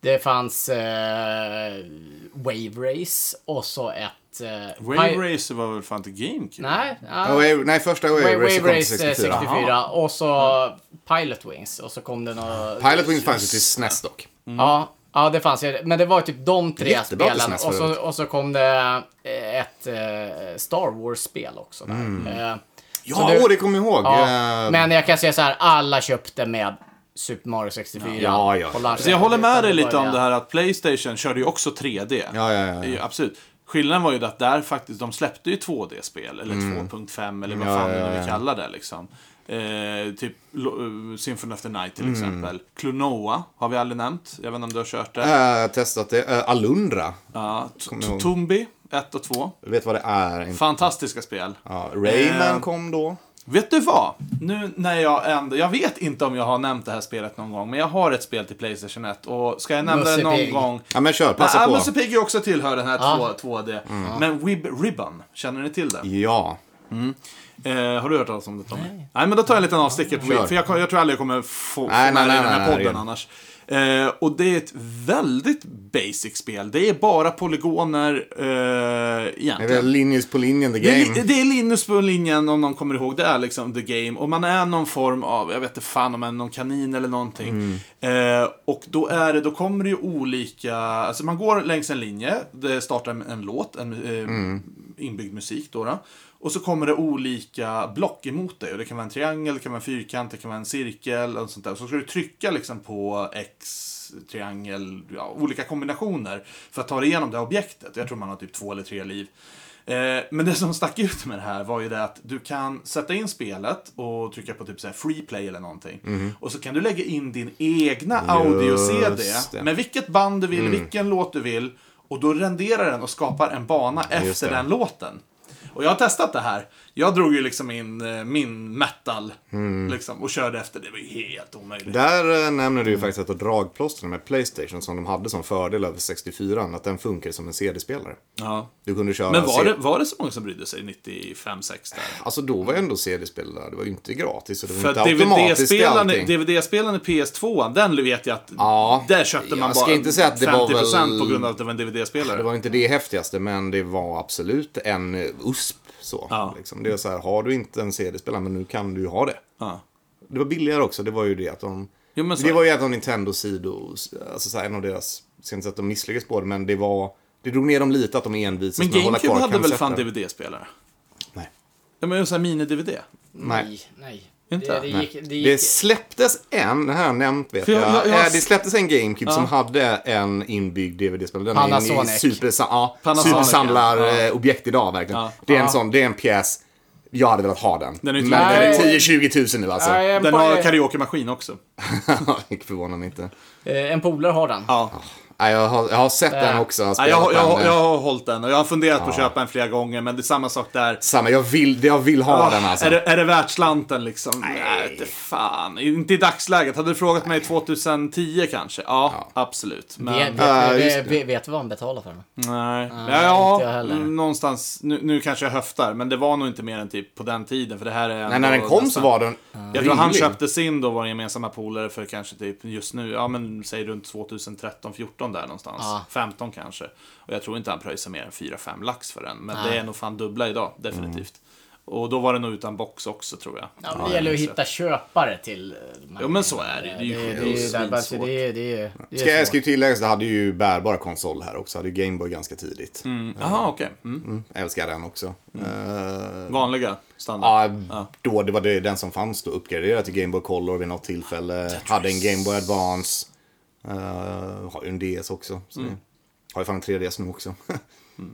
Det fanns eh, Wave Race och så ett... Eh, Pi-
Wave Racer var väl fan inte GameCube?
Nej, ja.
Ja, Wave- nej, första Wave,
Wave,
Racer kom
Wave
till
Race eh,
64.
64.
Aha.
Och så
Mm.
Pilot Wings. Och så kom det några... Mm.
Pilot Wings fanns ju till SNES dock.
Ja, ja, det fanns ju. Men det var typ de tre
Jättebra till
spelen.
SNES
Och så,
förut.
och så kom det eh, ett eh, Star Wars-spel också. Där. Eh, så
Mm. Ja, åh, det kommer jag ihåg.
ja,
Eh,
Men jag kan säga så här, alla köpte med Super Mario 64
Ja, ja.
på launchen.
Så jag håller med dig lite om
början.
det här att Playstation körde ju också 3D.
Ja, ja, ja, ja.
Absolut. Skillnaden var ju att där faktiskt, de släppte ju 2D-spel, eller 2.5 eller vad
Mm. Ja,
fan
ja,
det nu
ja.
vi kallar det liksom. Eh, typ Lo- eh, Symphony of the Night
Mm.
till exempel. Klonoa har vi aldrig nämnt. Jag vet inte om du har kört det.
Eh, testat det. Eh, Alundra.
Ja, T-
kommer ihåg.
Tombi 1 och 2.
Vet vad det är? Inte-
Fantastiska spel.
Ja, Rayman
Eh,
kom då.
Vet du vad? Nu när jag ändå... Jag vet inte om jag har nämnt det här spelet någon gång, men jag har ett spel till Playstation 1 och ska jag nämna
Musse
det någon
Pig.
gång
Ja, men kör. Passa
Passa
på. Mm.
Musse Pigg också tillhör den här
Ja.
2, 2D. Men Wib Ribbon, känner ni till det?
Ja.
Eh, har du hört talas om det Tommy? Nej. men då tar jag en liten avstickare på
Kör.
Wib, för jag, kan- jag tror aldrig jag kommer få, få
Nej,
med
nej,
det i
nej,
den här
nej,
podden
nej.
annars. Eh, och det är ett väldigt basic spel. Det är bara polygoner eh,
Det är
egentligen.
väl Linus på linjen, the
Det är,
game.
li- det är Linus på linjen, om någon kommer ihåg. Det är liksom the game. Och man är någon form av, jag vet inte fan om man är någon kanin eller någonting. Eh, och då är det, då kommer det ju olika, alltså man går längs en linje. Det startar med en låt, en eh, inbyggd musik då, då. Och så kommer det olika block emot dig. Och det kan vara en triangel, det kan vara en fyrkant, det kan vara en cirkel och sånt där. Så ska du trycka liksom på X, triangel, ja, olika kombinationer för att ta dig igenom det här objektet. Jag tror man har typ två eller tre liv. Eh, men det som stack ut med det här var ju det att du kan sätta in spelet och trycka på typ så här free play eller någonting.
Mhm.
Och så kan du lägga in din egna audio-CD
Just det. Mm.
med vilket band du vill, vilken låt du vill. Och då renderar den och skapar en bana
Just
efter
det.
den låten. Och jag har testat det här. Jag drog ju liksom in eh, min metal
Mm.
liksom, och körde efter. Det var ju helt omöjligt.
Där eh, nämner du ju faktiskt att dragplåstren med Playstation som de hade som fördel över 64 att den funkar som en CD-spelare.
Ja.
Du kunde köra
Men var
CD
det, var det så många som brydde sig 95-6 där?
Alltså då var ju ändå CD-spelare, det var ju inte gratis. Så det var
För
inte automatiskt i
DVD-spelaren
allting.
DVD-spelaren i PS2, den vet jag att
Ja,
där köpte man
jag
bara
ska inte säga att det var
50%
väl-
på grund av att det var en
Det
DVD-spelare.
var ju inte det häftigaste, men det var absolut en eh, USP. Så,
Ja.
liksom. Det är så här, har du inte en CD-spelare, men nu kan du ju ha det.
Ja.
Det var billigare också, det var ju det att de...
Jo, men så-
det var ju ett av Nintendos sidor, alltså så här, en av deras... Sen att de misslyckades på det, men det var... Det drog ner dem lite att de envisas
Men
med att hålla
GameCube
kvar
hade väl fan
konceptet.
DVD-spelare?
Nej.
Ja, men sån här mini-DVD.
Nej.
nej.
Inte?
Det, det gick, det gick,
Det släpptes en, det här har jag nämnt vet
För
jag,
jag- jag- jag-
Eh, det släpptes en GameCube som hade en inbyggd DVD-spelare. Den är en
Panasonic.
super, ja,
Panasonic, ja.
supersamlarobjekt idag verkligen.
Ja.
Det är en sån, det är en pjäs, jag hade velat ha den.
Den är ju
Men
typ-
den är 10-20 000 nu alltså.
Nej, en,
Den
po-
har karaoke-maskin också.
det förvånar mig inte.
eh, en polare har den.
Ja.
Nej, jag, har, jag har sett
Äh.
den också. Jag har
Ja,
spelat
jag, jag,
den.
jag
Jag,
har hållit den och jag har funderat på att köpa den flera gånger, men det är samma sak där.
eh, Samma, jag vill, jag vill ha den alltså.
Ah, är, det, är det värt slanten liksom? Nej, inte fan. Inte i dagsläget. Hade du frågat mig 2010 kanske? Ja, absolut. Men,
Vet, vet,
Ja, just
vet, vet, vet du vad han betalar för den?
nej.
Nej,
ja,
inte jag heller.
någonstans. Nu, nu kanske jag höftar, men det var nog inte mer än typ på den tiden. För det här är
Nej, när den
ändå
kom
nästan-
så var den
Alltså. Jag tror han
rimlig.
köpte sin då, vår gemensamma polare, för kanske typ just nu, ja men säg runt 2013, 14 där någonstans.
Ja.
15 kanske. Och jag tror inte han pröjsade mer än 4-5 lax för den. Men
Nej. Mm.
det är nog fan dubbla idag, definitivt. Och då var det nog utan box också tror jag.
Ja, men det gäller att hitta köpare till eh, de här
Jo, men så
grejerna.
är det. Det är
Det
ju-
är
det är ju
ju där- alltså,
svinsvårt.
det är- det är- det är
Ska, jag
svårt.
ska ju tillägga att det hade ju bärbara konsol här också. Hade ju Gameboy ganska tidigt.
Jaha, okej. Mm.
Mm, älskar den också.
Mm.
Eh,
Vanliga standard.
Ja, då det var det, den som fanns då. Uppgraderade till Game Boy Color vid något tillfälle. Hade en Game Boy Advance. Eh, har ju en DS också. Så
Mm.
det- Har ju fan en 3DS nu också.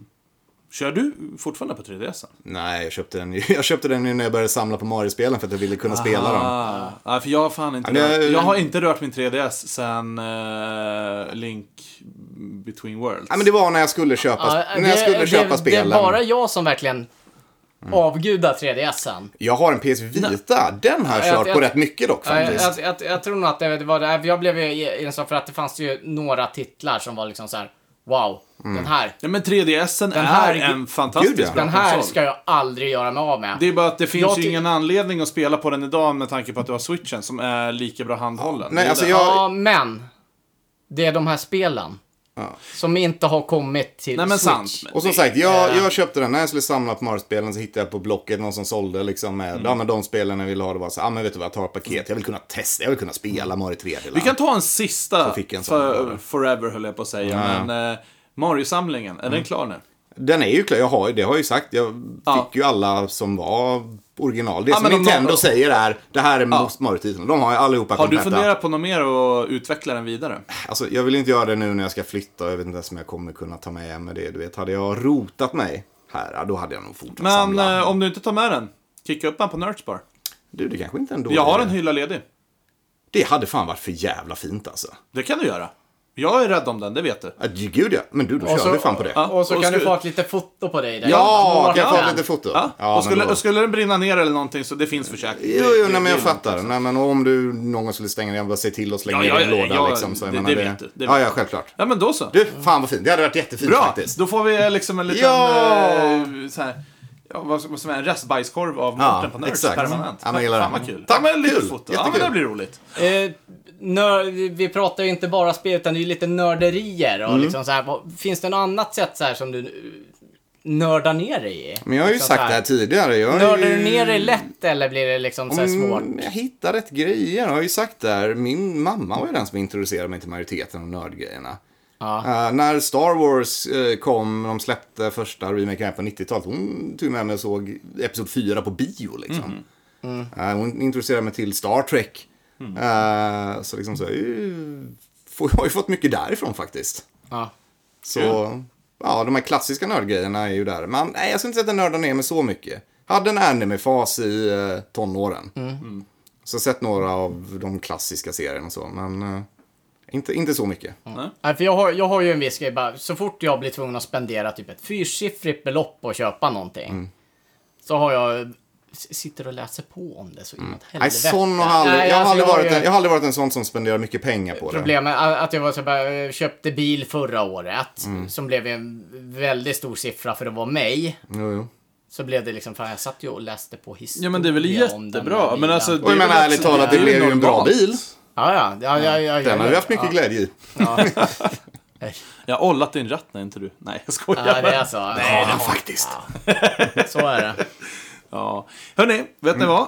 Kör du fortfarande på 3DS?
Nej, jag köpte, den, ju- jag köpte den ju när jag började samla på Mario-spelen för att jag ville kunna spela dem.
Ah, ja, för jag har fan inte
Ja, men-
rört, jag har inte rört min 3DS sen eh, Link Between Worlds.
Ja, men det var när jag skulle köpa,
Ja,
när jag skulle köpa
det,
spelen.
Det är bara jag som verkligen avgudar 3DSen.
Jag har en PS Vita. Den har jag
Ja, jag-
kört på
jag-
rätt mycket dock
Ja, Jag,
faktiskt.
jag, jag, jag tror nog att det var det. här, för Jag blev ju ensam för att det fanns ju några titlar som var liksom så här: wow,
Mm.
den här,
Ja, men 3DSen
här-
är en fantastisk
Gud, ja.
bra
den här
konsol.
ska jag aldrig göra mig av med.
Det är bara att det finns
Jag
ju
ty-
ingen anledning att spela på den idag med tanke på att du har switchen som är lika bra handhållen.
Nej,
Det är
alltså
det.
jag-
Ja, men. Det är de här spelen.
Ja.
Som inte har kommit till
Nej men
Switch.
sant.
Och som sagt, jag, jag köpte den när jag skulle samla på Mario-spelen så hittade jag på Blocket någon som sålde liksom med,
Mm.
ja men de spelen jag ville ha, det var så ja ah, men vet du vad, jag tar ett paket, jag vill kunna testa, jag vill kunna spela Mario 3
Mm. Vi kan ta en sista
fick en sån
för,
bara.
forever höll jag på att säga. Men eh, Mario-samlingen, är den
Mm.
klar nu?
Den är ju klar, jag har ju, det har jag ju sagt, jag
Ja.
fick ju alla som var original. Det
Ja,
som
men de-
Nintendo
de-
säger är, det här är ja. Mario-titeln, de har ju allihopa
Har du
kompletta.
funderat på något mer och utveckla den vidare?
Alltså, jag vill inte göra det nu när jag ska flytta, jag vet inte ens om jag kommer kunna ta med mig det, du vet. Hade jag rotat mig här, ja, då hade jag nog fortsatt
Men
samla.
eh, om du inte tar med den, kicka upp den på Nerdspar.
Du, det kanske inte är en dålig
Jag har
idé.
en hylla ledig.
Det hade fan varit för jävla fint alltså.
Det kan du göra. Jag är rädd om den, det vet du.
Ja, Gud ja, men du, då kör
så-
vi fan på det.
Ja,
Och så
och
kan du
sku-
få ett litet foto på dig där.
Ja,
Måla
kan jag
den.
få lite foto?
Ja.
men
och skulle,
då-
och skulle den brinna ner eller någonting så det finns försäkring.
Jo,
Det-
jo, nej,
det-
men jag
det är lugnt.
fattar. Nej, men om du någon skulle stänga den, bara säg till att slänga
Ja,
ner
ja,
den i en
ja,
låda.
ja,
liksom, så jag
det-
menar
det vet du, det
ja,
vet
ja,
du.
självklart.
Ja, men då så.
Du, fan vad fint. Det hade varit jättefint
Bra,
faktiskt.
då får vi liksom en liten...
Ja!
Eh, så här, ja, vad, vad som är en restbajskorv av
Ja,
Mårten på Nerds
exakt.
permanent.
Ja, men jag gillar
Fan
det.
vad kul.
Tack,
ja, men lite
kul.
foto. Ja, men
Jättekul.
det blir roligt.
Eh, nör, vi pratar ju inte bara spel, utan det är ju lite nörderier.
Mm.
Och liksom så här, vad, finns det något annat sätt så här som du eh, nördar ner dig i?
Men jag har ju
liksom
sagt
så
det
här,
här tidigare. Jag har
Nördar
ju-
du ner dig lätt eller blir det liksom så här svårt?
Mm, Jag hittar rätt grejer. Jag har ju sagt det här. Min mamma var ju den som introducerade mig till majoriteten av nördgrejerna.
Ja.
Eh, när Star Wars eh, kom, de släppte första remaken här på 90-talet, hon tog med mig och såg Episod 4 på bio liksom.
Mhm.
Eh, hon introducerade mig till Star Trek.
Mm.
Eh, så liksom så, uh, får, jag har ju fått mycket därifrån faktiskt.
Ja.
Så, ja, de här klassiska nördgrejerna är ju där. Men nej, jag skulle inte säga att jag nördar ner mig så mycket. Hade en anime-fas i eh, tonåren.
Mm.
Så sett några av de klassiska serierna och så, men eh, inte, inte så mycket.
Mm.
Nej, för jag har, jag har ju en viss grej, bara, så fort jag blir tvungen att spendera typ ett fyrsiffrigt belopp på att köpa någonting.
Mm.
Så har jag, s- sitter och läser på om det så inåt helvete.
Mm. Nej, sån har aldrig,
Nej,
jag, har
alltså,
aldrig
jag har
varit
ju-
en, jag har aldrig varit en sån som spenderar mycket pengar på det.
Problemet är att jag var så bara, eh, köpte bil förra året.
Mm.
Som blev en väldigt stor siffra för att vara mig.
Jo, jo.
Så blev det liksom, fan jag satt ju och läste på historia
Ja, men det är väl
om den här
jättebra.
bilen.
Men alltså, det
Och jag
är väl
menar ärligt
också-
talat, det
är
blev ju en bra
normalt.
bil.
Ja, ja. ja, ja, ja, ja
Den hade vi haft mycket
ja.
glädje i.
Jag har ollat din ratt, nej inte du. Nej, jag skojar.
Ja, det är så.
Ja, faktiskt.
Så är det.
ja. Hörni, vet ni vad?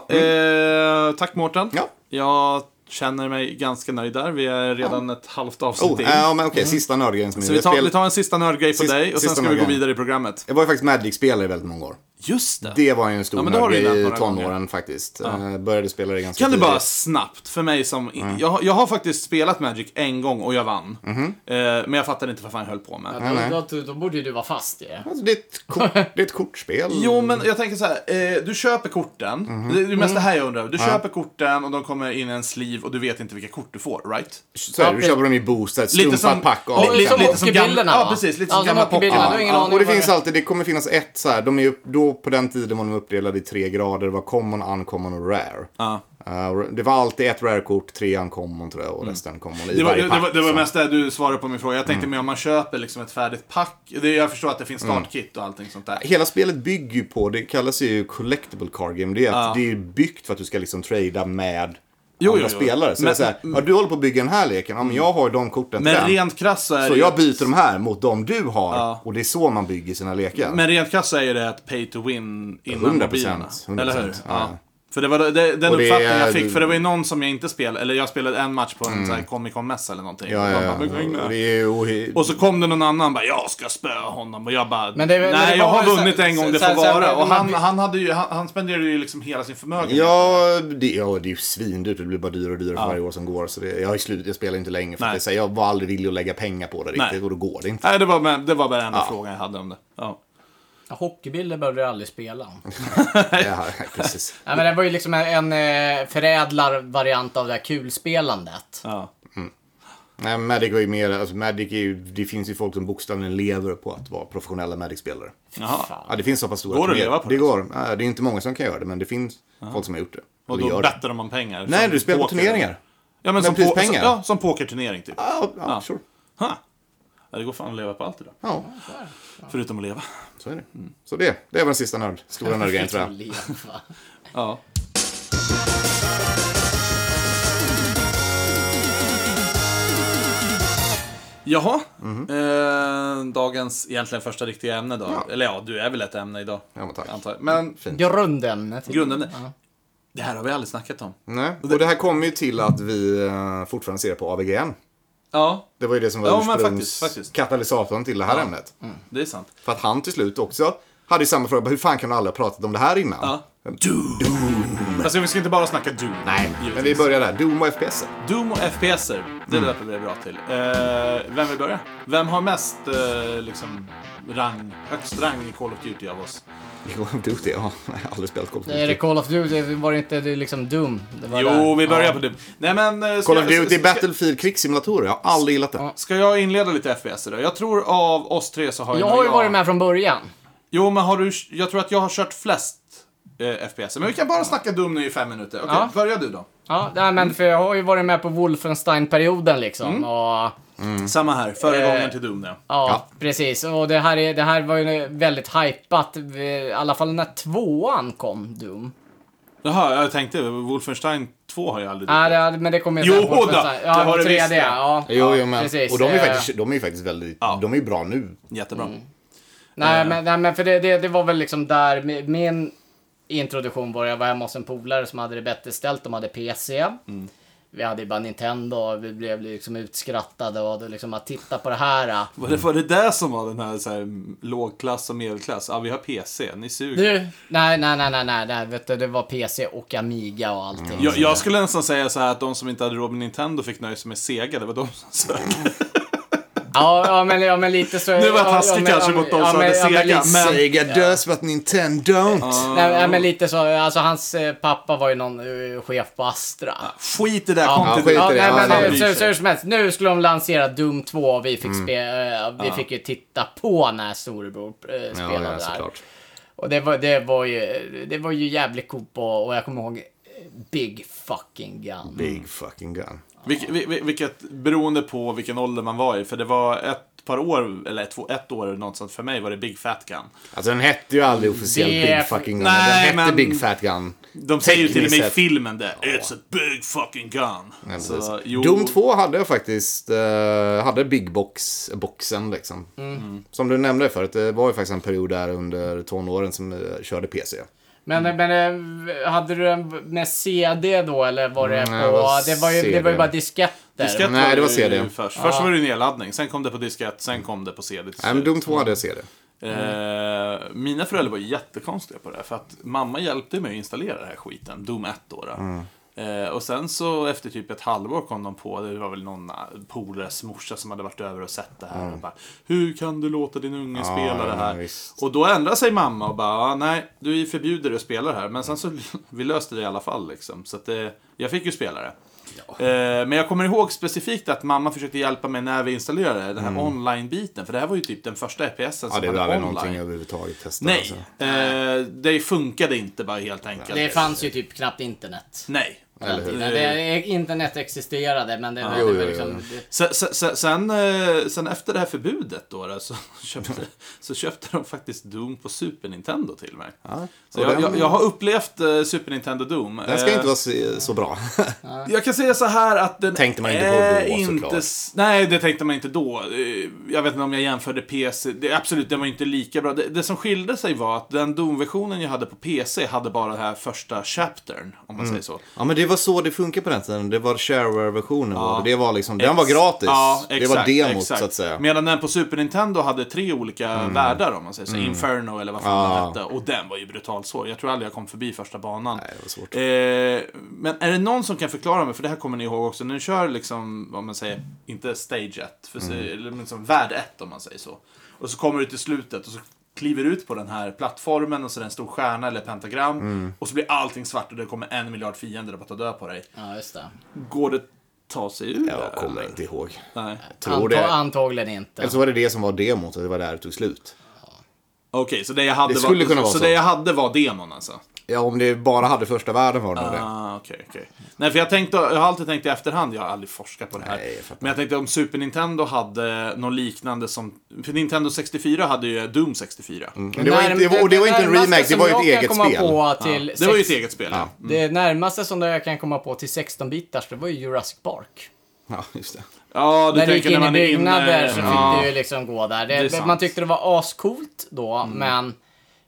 Eh, tack Mårten.
Mm. Ja,
Jag känner mig ganska nöjd där. Vi är redan ett halvt avsnitt
Oh,
in.
ja, men okej, sista nördgrejen som
Mm. Så vi tar, vi tar en sista nördgrej på
Sist-
dig och sen
sista
ska vi gå
nördgrejen.
vidare i programmet.
Jag var ju faktiskt Magic-spelare i väldigt många år.
Just det!
Det var ju en stor
Ja, men det har du ju
nördgrej
nämnt
i
några
tonåren
gånger.
faktiskt. Eh, började spela det Mm. ganska
Kan du
tidigt.
bara snabbt, för mig som... Jag, har- jag har faktiskt spelat Magic en gång och jag vann.
Mhm.
Eh, men jag fattade inte vad fan jag höll på med.
Mm.
Ja, då, då, då borde ju du vara fast i det.
Alltså, det, är ett kort, det är ett kortspel.
Jo, men jag tänker så här. Eh, du köper korten.
Mhm.
Det är mest det här jag undrar över. Du
Mm.
köper korten och de kommer in i en sleeve och du vet inte vilka kort du får, right?
Så här, du köper dem i boost, ett
Lite som-
stumpat pack av
li-
dem.
li-
Sen-
lite som gamla-
hockeybilderna,
ja,
va?
precis, lite som
Ja,
gamla
hockeybilderna,
pocket-
du har ingen
ja,
aning
Och det
vad
finns
är.
alltid, det kommer finnas ett så här, de är ju, då på den tiden var de uppdelade i tre grader, det var common, uncommon och rare.
Ja.
Eh, och det var alltid ett rare-kort, tre uncommon tror jag och resten common i
Mm. Det var, det,
varje pack.
var, det var
så. Mm.
mest det du svarade på min fråga. Jag tänkte mer om man köper liksom ett färdigt pack. Det, jag förstår att det finns startkit och allting sånt där.
Hela spelet bygger ju på, det kallas ju collectible card game, det är, att det är byggt för att du ska liksom trada med
Jo,
andra
jo, jo.
spelare. Så
Men- Mm.
det är så här, ja, du håller på att bygga den här leken, ja, men jag har de korten till
Men
den.
rent krasst så är
Så
det ju-
jag byter de här mot de du har och det är så man bygger sina lekar.
Men rent krasst så är ju det ett pay to win innan
100%,
mobilerna.
100%,
Eller hur?
ja.
Ja. För det var det, den
Och det
uppfattningen jag
är-
fick. För det var ju någon som jag inte spelade. Eller jag spelade en match på en sån här Comic Con-mässa eller någonting.
ja,
Och
ja,
de
ja.
bara, "Men,
Och Det är ju ohe-
Och så kom det någon annan bara, jag ska spöa honom. Och jag bara,
Men det-
nej
men det var
jag har
väl så-
vunnit en gång, det
så-
får
så- så-
vara. Och
man-
han, han, hade ju, han, han spenderade ju liksom hela sin förmögenhet.
Ja, det, ja, det är ju svindyrt. Det blir bara dyrare och dyrare för varje år som går. Så det, jag, har ju slut, jag spelar inte längre. För
Nej.
att det, är så här, jag var aldrig villig att lägga pengar på det riktigt
Nej.
och då går det inte.
Nej, det var, men, det var bara den enda frågan jag hade om det. Ja.
Ja, Hockeybilder behövde jag aldrig spela.
Det här, precis.
Nej, men det var ju liksom en, en eh, förädlarvariant av det här kulspelandet.
Ja.
Nej, Magic är ju mer, alltså Magic är ju, det finns ju folk som bokstavligen lever på att vara professionella Magic-spelare.
Jaha.
Ja, det finns så pass stora
Går det att
turnéer.
leva på
det?
det?
går. Nej, Det är inte många som kan göra det, men det finns folk som har gjort det.
Och
Eller
då
gör det.
bettade man pengar.
Nej,
som
du spelar på
poker.
turneringar.
Ja, men som, po- som,
prispengar.
ja, som pokerturnering typ.
Ja, ja, sure.
Ha. Ja, det går fan att leva på allt idag.
Ja,
Förutom att leva.
så är det. Så det, det var den sista nörd, stora nördgrejen tror jag.
Leva.
Ja. Jaha.
Mhm.
Eh, dagens egentligen första riktiga ämne då. Eller ja, du är väl ett ämne idag.
Ja, men tack.
Antar jag. Men
Grundämnet.
grundämne. Det här har vi aldrig snackat om.
Nej, och det här kommer ju till att vi eh, fortfarande ser det på AVGN.
Ja,
Det var ju det som var
Ja, men faktiskt, faktiskt.
ursprungskatalysatorn till det här ämnet.
det är sant.
För att han till slut också hade ju samma fråga, bara, hur fan kan alla ha pratat om det här innan?
Ja. Doom! Alltså vi ska inte bara snacka Doom.
Nej, men vi
givetvis.
börjar där. Doom och FPS.
Doom och FPSer, det
Mm.
löper vi bra till. Eh, vem vill börja? Vem har mest eh, liksom, rang, högst rang i Call of Duty av oss?
Jo, Duty, ja. Jag har aldrig spelat Call of
Är det
Duty.
Call of Duty? Var det inte det är liksom Doom? Det var
Typ. Jo,
där.
vi börjar
Ja.
på Doom. Nej, men, eh, ska,
Call of
jag-
Duty,
ska-
Battlefield, krigssimulatorer. Jag har aldrig gillat det.
Ja.
Ska jag inleda lite FPS då? Jag tror av oss tre så har
Jag
nog
har ju varit med från början.
Jo, men har du... Jag tror att jag har kört flest eh, FPS. Men vi kan bara snacka Doom nu i fem minuter. Okej,
Ja.
börja du då.
Ja, nej,
Mm.
men för jag har ju varit med på Wolfenstein-perioden liksom. Och,
Samma här, föregången
Eh.
till Doom ja.
ja,
Ja.
precis. Och det här, är, det här var ju väldigt hypat. I alla fall när tvåan kom, Doom.
Jaha, jag tänkte Wolfenstein 2 har jag aldrig
Nej, det, hade- men det kom ju
Jo
sen
då,
Wolfenstein.
det har
Ja,
det visst
3D.
det.
Ja,
Jo,
ja,
jo, men.
precis.
Och de är ju
Eh,
faktiskt, de är ju faktiskt väldigt,
Ja.
de är ju bra nu.
Jättebra.
Mm. Nej,
Eh.
men, nej, men för det, det, det var väl liksom där mi- min introduktion var. Jag var hemma hos en polare som hade det bättre ställt. De hade PC.
Mm.
Vi hade ju bara Nintendo och vi blev liksom utskrattade och det liksom att titta på det här. ah.
Var det, var det där som var den här, så här m, lågklass och medelklass? Ja, vi har PC, ni suger.
Du, nej, nej, nej, nej, nej, nej, vet du, det var PC och Amiga och allting.
Jag, jag skulle nästan säga så här att de som inte hade råd med Nintendo fick nöja sig med Sega, det var de som sökte.
Ja, ja, men, ja, men lite så.
Nu var jag
ja,
taskig
ja, men-
kanske
ja,
mot de
ja,
som
men-
hade
ja, men
Sega, Men-
lite-
Sega does what Nintendo don't.
Nej, nej, men lite så. Alltså hans eh, pappa var ju någon eh, chef på Astra.
Skit i det,
Ja,
kom
ja,
till
skit i
det.
Ja, nej,
Ja,
men,
han
eh,
bryr
så,
sig.
så hur som helst, nu skulle de lansera Doom 2 och vi fick,
Mm.
spe, eh, vi fick ju titta på när storebror eh,
Ja,
spelade
ja,
där.
såklart.
Och det var, det var ju, det var ju jävligt coolt och, och jag kommer ihåg eh, Big fucking gun.
Big fucking gun.
Vilket, vil- vil- vilket, beroende på vilken ålder man var i, för det var ett par år, eller två, ett år eller något sånt, för mig var det Big Fat Gun.
Alltså den hette ju aldrig officiellt
Det-
Big fucking gun.
Nej,
den hette
men-
Big fat gun.
De säger ju till och med i
Tekniskt sett.
filmen det. It's a big fucking gun.
Ja,
Så,
precis.
jo,
Doom 2 hade jag faktiskt, eh, hade Big Box, boxen liksom.
Mm.
Som du nämnde förut, det var ju faktiskt en period där under tonåren som eh, körde PC.
Men, men eh, hade du den med CD då eller var det
Nej,
på...
det Mm, var
det, var ju, det var
CD.
ju bara disketter.
Diskett
Nej, det var
ju
CD.
Först. först var det ju nedladdning, sen kom det på diskett, sen kom det på CD. till
Nej, men
slut.
Doom 2 hade jag CD.
Eh, mina föräldrar var jättekonstiga på det här, för att mamma hjälpte mig att installera den här skiten, Doom 1 då. då.
Mm.
Eh, och sen så efter typ ett halvår kom de på, det var väl någon eh, polares morsa som hade varit över och sett det här. Och bara, Hur kan du låta din unge spela
Mm. ja,
det här?
visst.
och då ändrade sig mamma och bara, "Ah, nej, du är förbjuder att spela det här. Men sen så, vi löste det i alla fall liksom. Så att, eh, jag fick ju spela det. Eh, Men jag kommer ihåg specifikt att mamma försökte hjälpa mig när vi installerade den här online-biten. För det här var ju typ den första FPSen
Mm. Ja, det
som
var
hade
aldrig
online.
någonting jag överhuvudtaget testade.
Nej,
alltså.
eh, det funkade inte bara helt enkelt.
Det fanns ju typ knappt internet.
Nej. Eh,
Eller hur?
Nej, det, internet existerade men det, det,
Jo,
var
jo,
liksom...
jo.
det-
Sen, sen, sen, eh, sen efter det här förbudet då, då så, köpte, så köpte de faktiskt Doom på Super Nintendo till mig.
Ja.
Så
Och
jag,
den-
jag, jag har upplevt eh, Super Nintendo Doom.
Den ska
Eh,
inte vara så, så bra.
Jag kan säga så här att den
Tänkte man inte på
är
då,
inte
såklart.
s- Nej, det tänkte man inte då. Eh, Jag vet inte om jag jämförde PC. Det, absolut, den var ju inte lika bra. Det, det som skilde sig var att den Doom-versionen jag hade på PC hade bara den här första chaptern, om
Mm.
man säger så.
ja, men det var så det funkade på den tiden. Det var shareware-versionen. var det. Det var liksom, den var gratis.
Ja, exakt,
det var demot,
exakt.
så att säga. Mm.
Medan den på Super Nintendo hade tre olika världar, om man säger så. Inferno eller vad fan den hette. Och den var ju brutalt svår. Jag tror aldrig jag kom förbi första banan.
Nej, det var svårt.
Eh, men är det någon som kan förklara mig, för det här kommer ni ihåg också, när ni kör liksom, vad man säger, inte stage 1, för,
Mm.
eller liksom värld 1 om man säger så. Och så kommer du till slutet och så kliver du ut på den här plattformen och så är det en stor stjärna eller pentagram.
Mm.
Och så blir allting svart och det kommer en miljard fiender att ta död på dig.
Ja, just det.
Går det ta sig ur
Jag
det?
kommer
eller?
inte ihåg.
Nej.
Tror det.
Antag- Antagligen inte.
Eller så var det det som var demot och det var där det tog slut.
Okej, så det jag hade
Det
var,
skulle kunna vara
så.
så.
det jag hade var demon alltså?
Ja, om det bara hade första världen var det nog det.
Ah, okej, okej. Nej, för jag, tänkte, jag har alltid tänkt i efterhand, jag har aldrig forskat på det här.
Nej, jag fattar.
men jag tänkte om Super Nintendo hade något liknande som... För Nintendo 64 hade ju Doom 64.
Men det var
Nej,
inte, det var, och det var inte en
närmaste
remake, det
som
var ju
jag
ett
kan
eget
komma
spel.
På till
Det var ju Mm. ett
sex-
eget spel, ja.
Det närmaste som jag kan komma på till 16-bitars, det var ju Jurassic Park.
Ja, just det.
Ja, du
när du gick
tänker när
in i
man är
byggnader
inne...
så fick
ja.
du ju liksom gå där.
Det är
Det,
sant. Mm.
man tyckte det var ascoolt då, men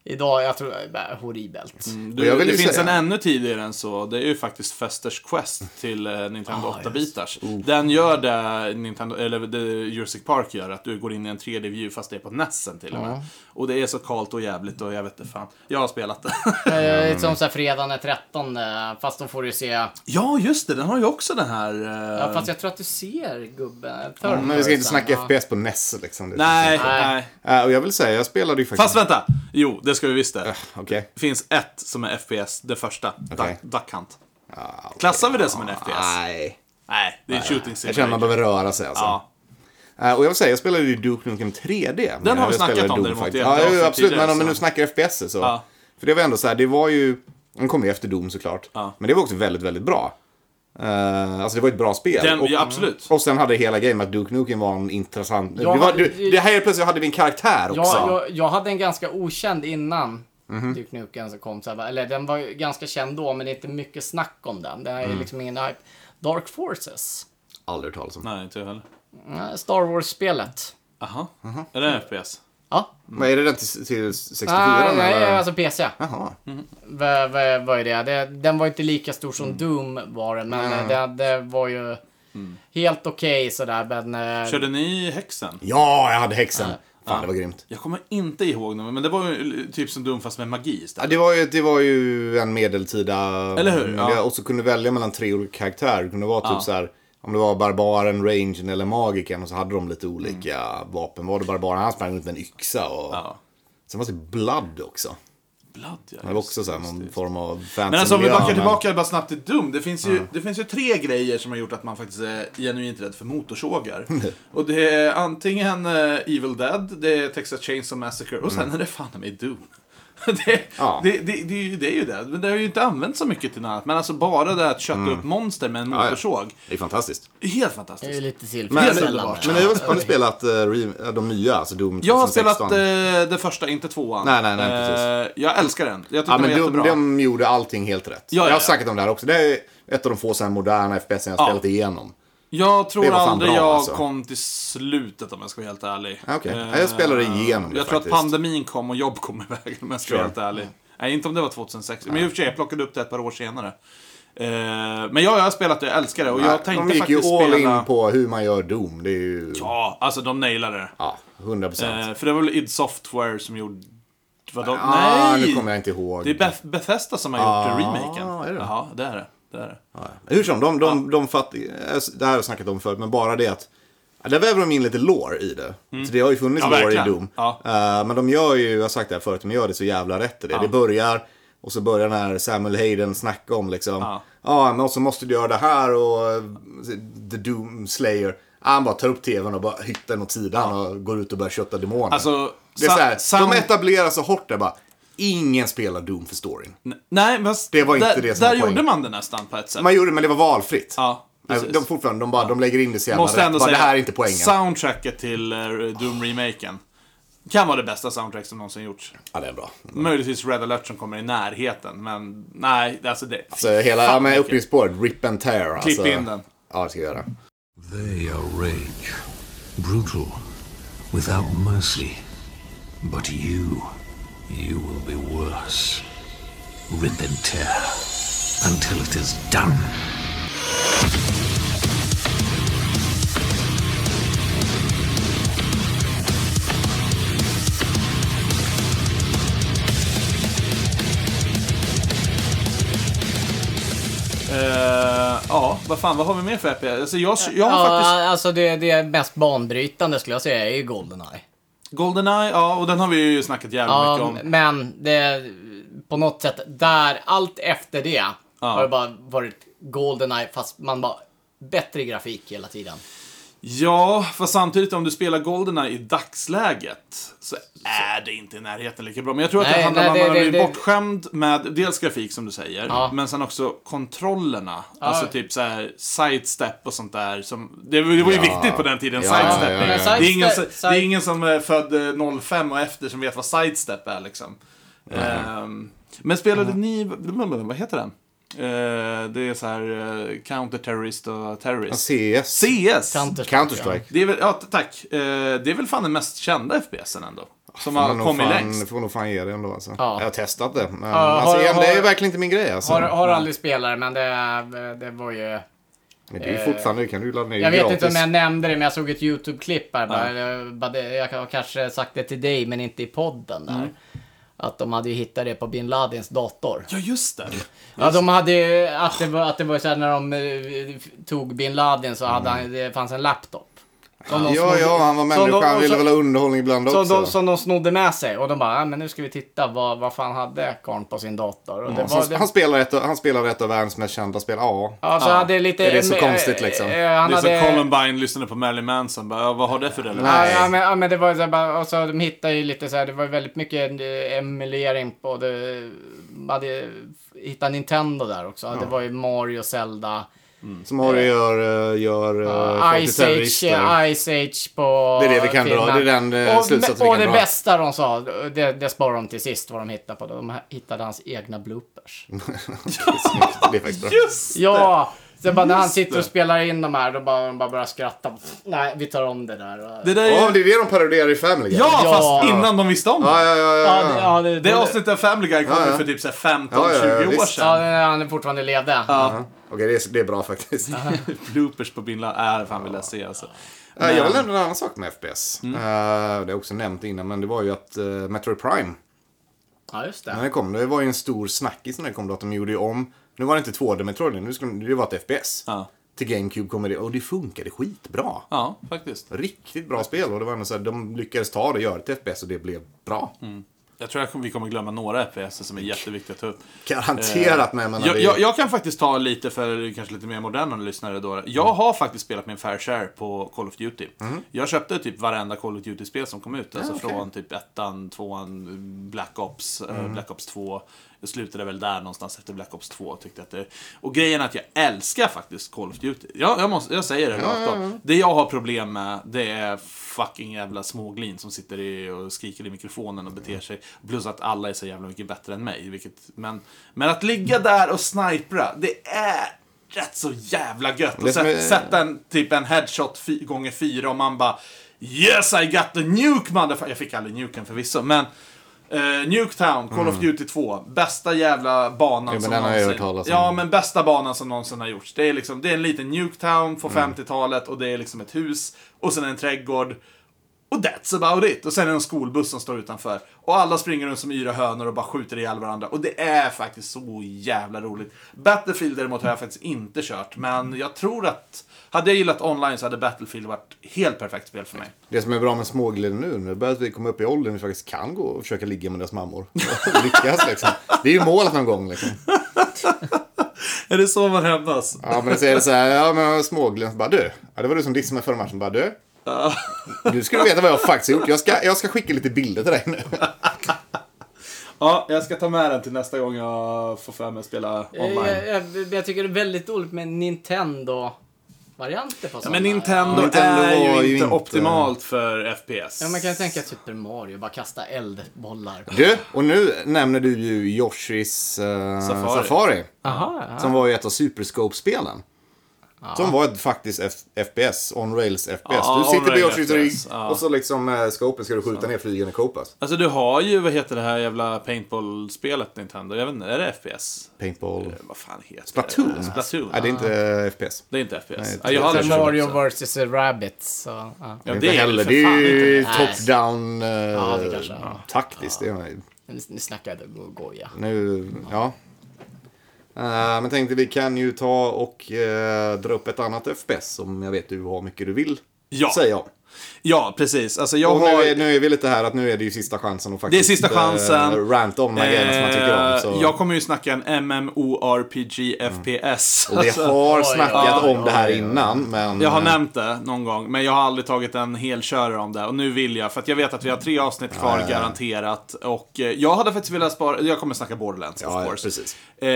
idag, jag tror, det är horribelt.
Du,
Och jag vill
det
ju
finns
säga-
en ännu tidigare än så. Det är ju faktiskt Festers Quest till eh,
Ah,
Nintendo 8-bitars.
Oh.
Den gör det Nintendo, eller det Jurassic Park gör, att du går in i en 3D-view fast det är på Nessen till och med. Och det är så kallt och jävligt och jag vet inte fan. Jag har spelat det.
Eh, Som såhär fredagen den 13, eh, fast då får du se... Ja,
ja, just det. Den har ju också den här... eh,
fast jag tror att du ser gubben.
Mm, Men vi ska inte snacka
Ja.
FPS på NES liksom. Det
Nej,
finns
nej.
Nej.
inte. Äh, och jag vill säga, jag spelade ju faktiskt...
Fast vänta! Jo, det ska vi visst det.
Okej.
Det finns ett som är FPS, det första.
Okej.
Duck, Duck Hunt. Klassar vi det som en FPS?
Nej.
Nej, det är en shooting
Jag känner att man
simulator.
behöver röra sig alltså.
Ja.
Äh, och jag vill säga, jag spelade ju Duke Nukem 3D. men
Den har
jag
vi snackat
spelade
om
Doom
däremot,
faktiskt.
det är
Ja,
bra
jo,
för
absolut.
tidigare,
Men om vi
så.
nu snackar FPS så.
Ja.
För det var ändå så här, det var ju... Den kom ju efter Doom såklart.
Ja.
Men det var också väldigt, väldigt bra. Eh, alltså det var ett bra spel.
Den,
och,
ja, absolut.
och sen hade hela grejen att Duke Nukem var en intressant... Det,
Jag
var,
hade-
du, det här helt plötsligt hade vi en karaktär också. Mhm.
Jag, jag, jag hade en ganska okänd innan Duke Nukem som kom. Så här, eller den var ju ganska känd då, men det är inte mycket snack om den. Det här är
Mm.
liksom ingen hype. Dark Forces.
Aldrig hört talas om.
Nej, inte jag heller.
Mm, Star Wars-spelet.
Aha.
Mhm.
Är det en FPS?
Ja.
Men Mm. är det den till, till 64?
Ah, nej,
eller?
alltså PC.
Jaha.
Vad va, vad är det? det? Den var inte lika stor som
Mm.
Doom var den, men eh, det, det var ju helt okej sådär. Men, eh,
Körde ni häxen?
Ja, jag hade häxan. Fan, det var grymt.
Jag kommer inte ihåg nu, men det var ju typ som Doom fast med magi
Ja,
istället.
det, var ju, det var ju en medeltida...
Eller hur? Ja.
miljö. Och så kunde du välja mellan tre olika karaktärer. Det kunde vara typ så här... Om det var barbaren, rangern eller magiken och så hade de lite olika vapen. Var det barbaren, han sprang runt med en yxa och...
Mm. Ja.
Sen var det Blood också.
Blood, ja.
Det var också så här någon form av fantasy
Men alltså om vi backar tillbaka bara snabbt till Doom. Det finns, ju, det finns ju tre grejer som har gjort att man faktiskt är genuint rädd för motorsågar. och det är antingen eh, Evil Dead, det är Texas Chainsaw Massacre och sen är det fan i mig Doom. det,
Mm. Ja.
det, det, det, är ju- det är ju det. Men det har ju inte använts så mycket till något annat. Men alltså bara det att kötta upp monster med en
Mm. ja.
motorsåg.
Det är fantastiskt.
är Helt
det är ju
fantastiskt.
lite
Men, men,
Helt
tillfredsställande.
underbart.
men har har ni spelat eh, re- de nya, alltså Doom 2016?
Jag har spelat eh, det första, inte tvåan.
Nej, nej, nej, precis.
Eh, jag älskar den. Jag tyckte
Ja,
den
men
var
de,
jättebra.
de gjorde allting helt rätt.
Ja, ja,
jag
ja.
har snackat om det här också. Det är ett av de få så här moderna FPS jag har spelat igenom.
Jag tror
Det var fan
aldrig
bra,
jag
alltså.
kom till slutet om jag ska vara helt ärlig.
Ah, okej.
Eh,
Ja, jag spelade igenom det
Jag tror att
faktiskt.
pandemin kom och jobb kom i vägen om jag ska vara
Sure.
helt ärlig. Nej, inte om det var 2006. Men i och för sig, jag plockade upp det ett par år senare. Eh, men ja, jag har spelat det, jag älskar det. Och jag tänkte
de gick ju
faktiskt
all
spela...
in på hur man gör Doom. Det är ju... Ja,
Ja, alltså de nailade det.
100 procent.
Eh, för det var väl id Software som gjorde... Vad de...
ah,
Nej!
Nu kommer jag inte ihåg.
Det är Beth- Bethesda som har
Ah,
gjort remaken.
är det?
Ja, det är det. det, är det.
Ja, ja. Hur som, de, de, de fatt, eh, det här har jag snackat om förut, men bara det att ja, där väver de in lite lore i det. Så det har ju funnits
Mm. Ja,
lore i
verkligen.
Doom.
Ja.
Eh, men de gör ju, jag har sagt det här förut, de gör det så jävla rätt i det. Det börjar, och så börjar när Samuel Hayden snackar om liksom, ja,
Ja.
men och så måste du göra det här och eh, The Doom Slayer. Ja, han bara tar upp tvn och bara hittar den åt sidan och går ut och börjar kötta demoner.
Alltså,
det är
sa-
så här,
sam-
de etablerar så hårt där bara, ingen spelar Doom för storyn.
N- Nej, men
Det var inte
där,
det som
Där
var poängen.
gjorde man det nästan på ett sätt.
Man gjorde det, men det var valfritt.
Ja,
Nej,
precis.
De, fortfarande, de, bara, de lägger in det så jävla
Måste
rätt.
ändå
Bara,
säga,
det här är inte poängen.
soundtracket till eh, Doom-remaken kan vara det bästa soundtrack som någonsin gjorts.
Ja, det är bra.
Möjligtvis Red Alert som kommer i närheten, men nej, alltså det...
Så hela ja, men
vilket-
uppgiftsspåret, rip and tear. Klipp alltså.
in den.
Ja, det ska jag göra.
They are rage, brutal, without mercy. But you, you will be worse. Rip and tear until it is done.
Eh, ja, vad fan, vad har vi mer för FPS? Alltså jag, jag har
Ja,
faktiskt...
alltså det, det mest banbrytande skulle jag säga är ju Goldeneye.
Goldeneye, ja, och den har vi ju snackat jävligt mycket
Ja,
om.
men det, på något sätt, där, allt efter det har det bara varit Goldeneye fast man bara bättre grafik hela tiden.
Ja, fast samtidigt om du spelar Goldeneye i dagsläget så är det inte i närheten lika bra. Men jag tror att det
Nej,
handlar
nej,
om att
det-
man har
det-
blivit
det-
bortskämd med dels grafik som du säger,
Ja.
men sen också kontrollerna. Alltså typ så här sidestep och sånt där. Som, det, var- det var ju
Ja.
viktigt på den tiden,
Ja,
sidestep.
ja, ja, ja.
Det, är ingen,
Sidestep-
det är ingen som är född eh, 05 och efter som vet vad sidestep är liksom. Ehm, men spelade ni, vad heter den? Eh, det är så här eh, counter-terrorist och
Alltså-
terrorist.
CS.
CS!
Counter-Strike.
Det är väl, ja tack. Eh, det är väl fan den mest kända FPSen ändå. Som
Får
har
nog
kommit
fan-
längst.
Får nog fan ge det ändå alltså.
Ja.
Jag har testat det. Men,
har-
alltså, igen,
har-
det är verkligen inte min grej alltså.
Har, har aldrig spelat det, men det, det var ju...
men det är ju fortfarande, det kan du ladda ner
Jag vet
gratis.
inte om jag nämnde det, men jag såg ett YouTube-klipp här. Bara, jag bara, det- jag har kanske sagt det till dig, men inte i podden där.
Mm.
Att de hade ju hittat det på bin Ladins dator.
Ja, just det.
Ja, de hade ju, att det var, att det var så här när de eh, tog bin Laden så hade han, det fanns en laptop. Som de
Mm. Ja,
snodde-
ja, han var
som
människa.
de-
Han
och
ville
så-
väl ha underhållning ibland
som
också.
de, som de snodde med sig och de bara, "Ja, men nu ska vi titta vad, vad fan hade karln på sin dator. Och det
han,
var, det,
Mm. han, spelar ett, av- han spelar ett av världens mest kända spel. Ja.
ja, så hade lite,
Är det så
eh,
konstigt, liksom?
eh, han
det är
hade,
som Columbine lyssnade på Marilyn Manson. Bara, ja, vad har det för relevans?
Ja,
Nej.
ja, men, ja, men det var ju så här, bara, och så de hittade ju lite så här, det var ju väldigt mycket eh, emulering på det. Man hade hittat Nintendo där också. Det var ju Mario, Zelda,
Som har det gör, eh, gör eh, folk till
Ah, Ice Age,
terrorister.
eh, Ice Age på
Det är det vi kan dra.
Finland.
Det är den, eh,
och,
slutsatsen vi
Och
kan
det
dra.
bästa de sa, det, det sparar de till sist vad de hittade på. De hittade hans egna bloopers.
Det är faktiskt bra.
Just det!
ja! Så bara när han sitter
det.
och spelar in de här, då bara, de bara börjar skratta. Nej, vi tar om det där. Och-
Det där är...
Ja, det är det de parodierar i Family Guy.
ja,
Ja.
fast innan de visste om det.
Ja, ja, ja, ja,
Ja,
ja.
det- ja, det-
Det avsnittet av Family Guy kom ju
Ja, ja.
för typ så här
Ja,
15-20
ja, ja,
år
visst.
Ja,
sedan.
när han fortfarande levde.
Ja.
Okej, det är, det är bra faktiskt.
Bloopers på Bin Laden. Äh, fan vill jag se alltså.
Eh, Jag vill nämna en annan sak med FPS.
Mm.
Eh, det har jag också nämnt innan, men det var ju att eh, Metroid Prime,
Ja, just
när
det.
det kom, det var ju en stor snackis när det kom då att de gjorde ju om. Nu var det inte 2D Metroid, nu skulle det var ett FPS.
Ja.
Till GameCube kommer det, och det funkade skitbra.
Ja, faktiskt.
Riktigt bra spel och det var ändå så här, de lyckades ta det, göra det till FPS och det blev bra.
Mm. Jag tror att vi kommer glömma några FPS som är jätteviktiga att ta upp.
Garanterat, men jag menar
Eh, Jag,
det-
jag, jag kan faktiskt ta lite för kanske lite mer moderna lyssnare då. Jag har faktiskt spelat min fair share på Call of Duty. Jag köpte typ varenda Call of Duty-spel som kom ut. Alltså från typ ettan, tvåan, Black Ops, eh, Black Ops 2. Jag slutade väl där någonstans efter Black Ops 2. Tyckte att det... Och grejen är att jag älskar faktiskt Call of Duty. Jag, jag, måste, jag säger det rakt av. Det jag har problem med, det är fucking jävla småglin som sitter i och skriker i mikrofonen och beter sig. Plus att alla är så jävla mycket bättre än mig. Vilket, men, men att ligga där och snipra, det är rätt så jävla gött.
Det
Och
som
sätt,
är-
sätta en, typ en headshot fy, gånger fyra och man bara Yes I got the nuke motherfucker. Jag fick aldrig nuken förvisso, men Eh, Nuketown, Call
Mm.
of Duty 2. Bästa jävla banan
men
som
den har jag
någonsin...
hört talas om.
ja, men bästa banan som någonsin har gjorts. Det är, liksom, det är en liten Nuketown
Mm.
på 50-talet och det är liksom ett hus och sen en trädgård. Och that's about it. Och sen är det en skolbuss som står utanför. Och alla springer runt som yra hönor och bara skjuter ihjäl varandra. Och det är faktiskt så jävla roligt. Battlefield däremot har jag faktiskt inte kört. Men jag tror att... Hade jag gillat online så hade Battlefield varit helt perfekt spel för mig.
Det som är bra med smågliden nu, nu börjar vi komma upp i åldern vi faktiskt kan gå och försöka ligga med deras mammor. Och Lyckas liksom. Det är ju målet någon gång liksom.
Är det så man hämnas?
Ja, men så är det så här, ja men smågliden, så bara du. Ja, det var du som dissade mig förra matchen, bara du. Nu ska du veta vad jag faktiskt har gjort. Jag ska, jag ska skicka lite bilder till dig nu.
Ja, jag ska ta med den till nästa gång jag får för mig att spela online.
Jag, jag, jag tycker det är väldigt dåligt med
Ja,
Nintendo-varianter på sådana.
men Nintendo,
Nintendo
är ju
var
inte,
ju inte-
optimalt för FPS.
Ja, man kan ju tänka Super Mario, bara kasta eldbollar.
Du, och nu nämner du ju Yoshis eh,
Safari.
Safari. Som var ju ett av Superscope-spelen. Som var ett faktiskt F- FPS, on rails FPS.
Ja,
du sitter på
on-rail
Yoshis rygg
FPS, ja.
och så liksom eh, scopen ska du skjuta ner flygande Koopas.
Alltså du har ju, vad heter det här jävla paintball-spelet Nintendo? Jag vet inte, är det FPS?
Paintball.
Eh, Vad fan heter
Splatoon.
det? Splatoon.
Nej, det är inte eh, FPS.
Det är inte FPS.
Nej,
ja, jag har
det är
aldrig
Super
kört det.
Mario vs. Rabbit, så... Ja.
Ja,
Det är
det
inte
är
heller.
för
Det är
fan
ju
inte.
top-down eh,
det kanske är. Ja.
taktiskt. Det är,
Nu, nu snackar jag go- goja.
nu, ja. Eh, men tänkte vi kan ju ta och eh, dra upp ett annat FPS som jag vet du har mycket du vill
Ja.
säga om.
Ja, precis. Alltså jag
Och
har...
nu, är, nu är vi lite här att nu är det ju sista chansen att
Det är
faktiskt
sista chansen.
eh, ranta om de här grejerna som man tycker om.
Eh,
Så.
Jag kommer ju snacka en MMORPG FPS.
Och vi har
Oj,
snackat
oj,
om det här
oj, oj.
innan, men...
Alltså,
eh,
Jag har nämnt det någon gång, men jag har aldrig tagit en helkörare om det. Och nu vill jag, för att jag vet att vi har
Mm.
tre avsnitt kvar garanterat. Och eh, jag hade faktiskt velat spara, jag kommer snacka Borderlands
Ja,
of
ja,
course.
precis.
Eh,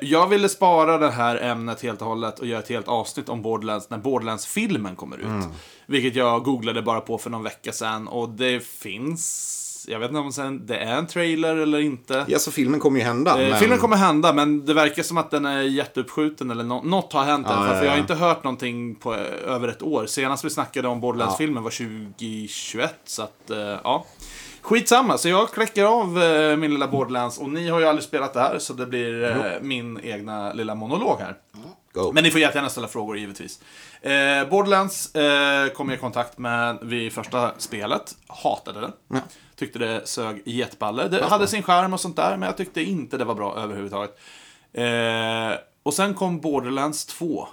jag ville spara det här ämnet helt och hållet och göra ett helt avsnitt om Borderlands när Borderlands-filmen kommer ut.
Mm.
Vilket jag googlade bara på för någon vecka sedan och det finns, jag vet inte om sen, det är en trailer eller inte.
Ja, så filmen kommer ju hända.
Eh,
men...
Filmen kommer hända, men det verkar som att den är jätteuppskjuten eller nå- något har hänt i alla fall,
ja,
För jag har
ja.
inte hört någonting på eh, över ett år. Senast vi snackade om Borderlands-filmen var 2021, så att eh, ja. Skitsamma, så jag kläcker av eh, min lilla Borderlands och ni har ju aldrig spelat det här så det blir eh, min egna lilla monolog här.
Go.
Men ni får jättegärna ställa frågor givetvis. Eh, Borderlands eh, kom jag i kontakt med vid första spelet. Hatade det. Tyckte det sög jetballe. Det hade sin skärm och sånt där, men jag tyckte inte det var bra överhuvudtaget. Eh, och sen kom Borderlands 2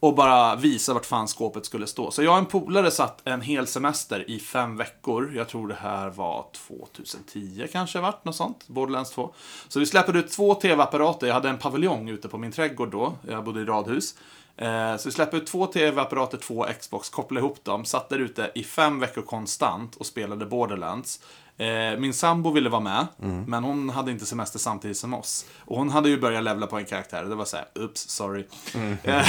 och bara visa vart fan skåpet skulle stå. Så jag och en polare satt en hel semester i fem veckor. Jag tror det här var 2010 kanske vart, något sånt. Borderlands 2. Så vi släppte ut två tv-apparater. Jag hade en paviljong ute på min trädgård då. Jag bodde i radhus. Eh, Så vi släppte ut två tv-apparater, två Xbox, kopplade ihop dem, satt där ute i fem veckor konstant och spelade Borderlands. Eh, Min sambo ville vara med, men hon hade inte semester samtidigt som oss. Och hon hade ju börjat levla på en karaktär, det var så här, oops, sorry. Eh,